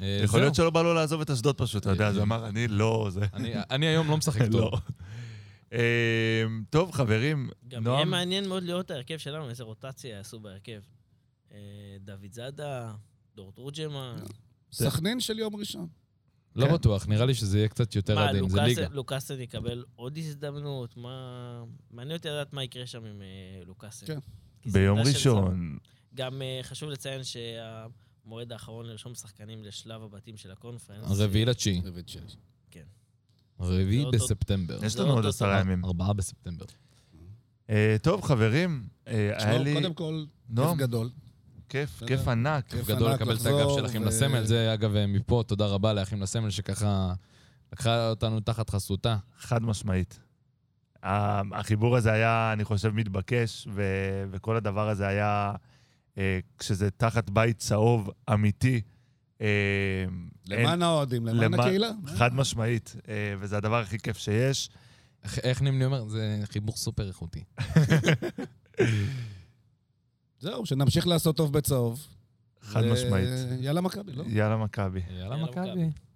Speaker 2: אה,
Speaker 1: יכול להיות
Speaker 2: זהו.
Speaker 1: שלא בא לו לעזוב את אשדוד פשוט, אתה יודע, אז הוא אמר, אני לא, זה...
Speaker 2: אני- אני היום לא משחק
Speaker 1: לא.
Speaker 2: טוב.
Speaker 1: אה, טוב, חברים,
Speaker 3: גם
Speaker 1: נועם-
Speaker 3: יהיה מעניין מאוד לראות את ההרכב שלנו, איזה רוטציה יעשו בהרכב. אה, דוד זאדה, דור תורג'מן.
Speaker 5: סכנין של יום ראשון.
Speaker 2: לא
Speaker 1: כן.
Speaker 2: בטוח, נראה לי שזה יהיה קצת יותר
Speaker 3: מה,
Speaker 2: עדין, זה
Speaker 3: לוקאסן-
Speaker 2: ליגה.
Speaker 3: לוקאסן יקבל עוד הזדמנות? מה... מעניין אותי לדעת מה יקרה שם עם אה, לוקאסן.
Speaker 5: כן.
Speaker 3: כי זה
Speaker 1: ביום
Speaker 3: עמדה של זר.
Speaker 1: ראשון,
Speaker 3: גם אה, חשוב לציין שהמועדון המועד האחרון לרשום שחקנים לשלב הבתים של הקונפרנס. אה,
Speaker 2: הרביעי לתשיעי.
Speaker 5: רביעי שש.
Speaker 2: רביעי
Speaker 3: זה אותו-
Speaker 2: בספטמבר.
Speaker 5: כן.
Speaker 1: יש
Speaker 3: לא
Speaker 1: לנו עוד
Speaker 3: אותו
Speaker 1: עשרה ימים.
Speaker 2: ארבעה בספטמבר.
Speaker 1: אה, טוב, חברים, אה, היה
Speaker 5: שמעו,
Speaker 1: לי...
Speaker 5: קודם כל, כיף
Speaker 1: נועם,
Speaker 5: גדול.
Speaker 1: כיף,
Speaker 5: תודה.
Speaker 1: כיף ענק.
Speaker 5: כיף
Speaker 2: גדול
Speaker 5: ענק
Speaker 2: לקבל את
Speaker 5: לחזור,
Speaker 2: הגב של אחים
Speaker 5: ו-
Speaker 2: לסמל. זה, אגב, אה, מפה, תודה רבה לאחים לסמל, שככה לקחה אותנו תחת חסותה.
Speaker 1: חד משמעית. ה- החיבור הזה היה, אני חושב, מתבקש, ו, וכל הדבר הזה היה, אה, כשזה תחת בית צהוב אמיתי. אה,
Speaker 5: למען האוהדים, למען
Speaker 1: למען-
Speaker 5: הקהילה.
Speaker 1: אין, חד משמעית, אה, וזה הדבר הכי כיף שיש.
Speaker 2: איך- איך נימני אומר? זה חיבור סופר איכותי.
Speaker 5: זהו, שנמשיך לעשות טוב בצהוב.
Speaker 1: חד
Speaker 5: ו-
Speaker 1: משמעית.
Speaker 5: יאללה מכבי, לא?
Speaker 1: יאללה, מכבי.
Speaker 2: יאללה,
Speaker 3: יאללה, מכבי.
Speaker 2: מכבי.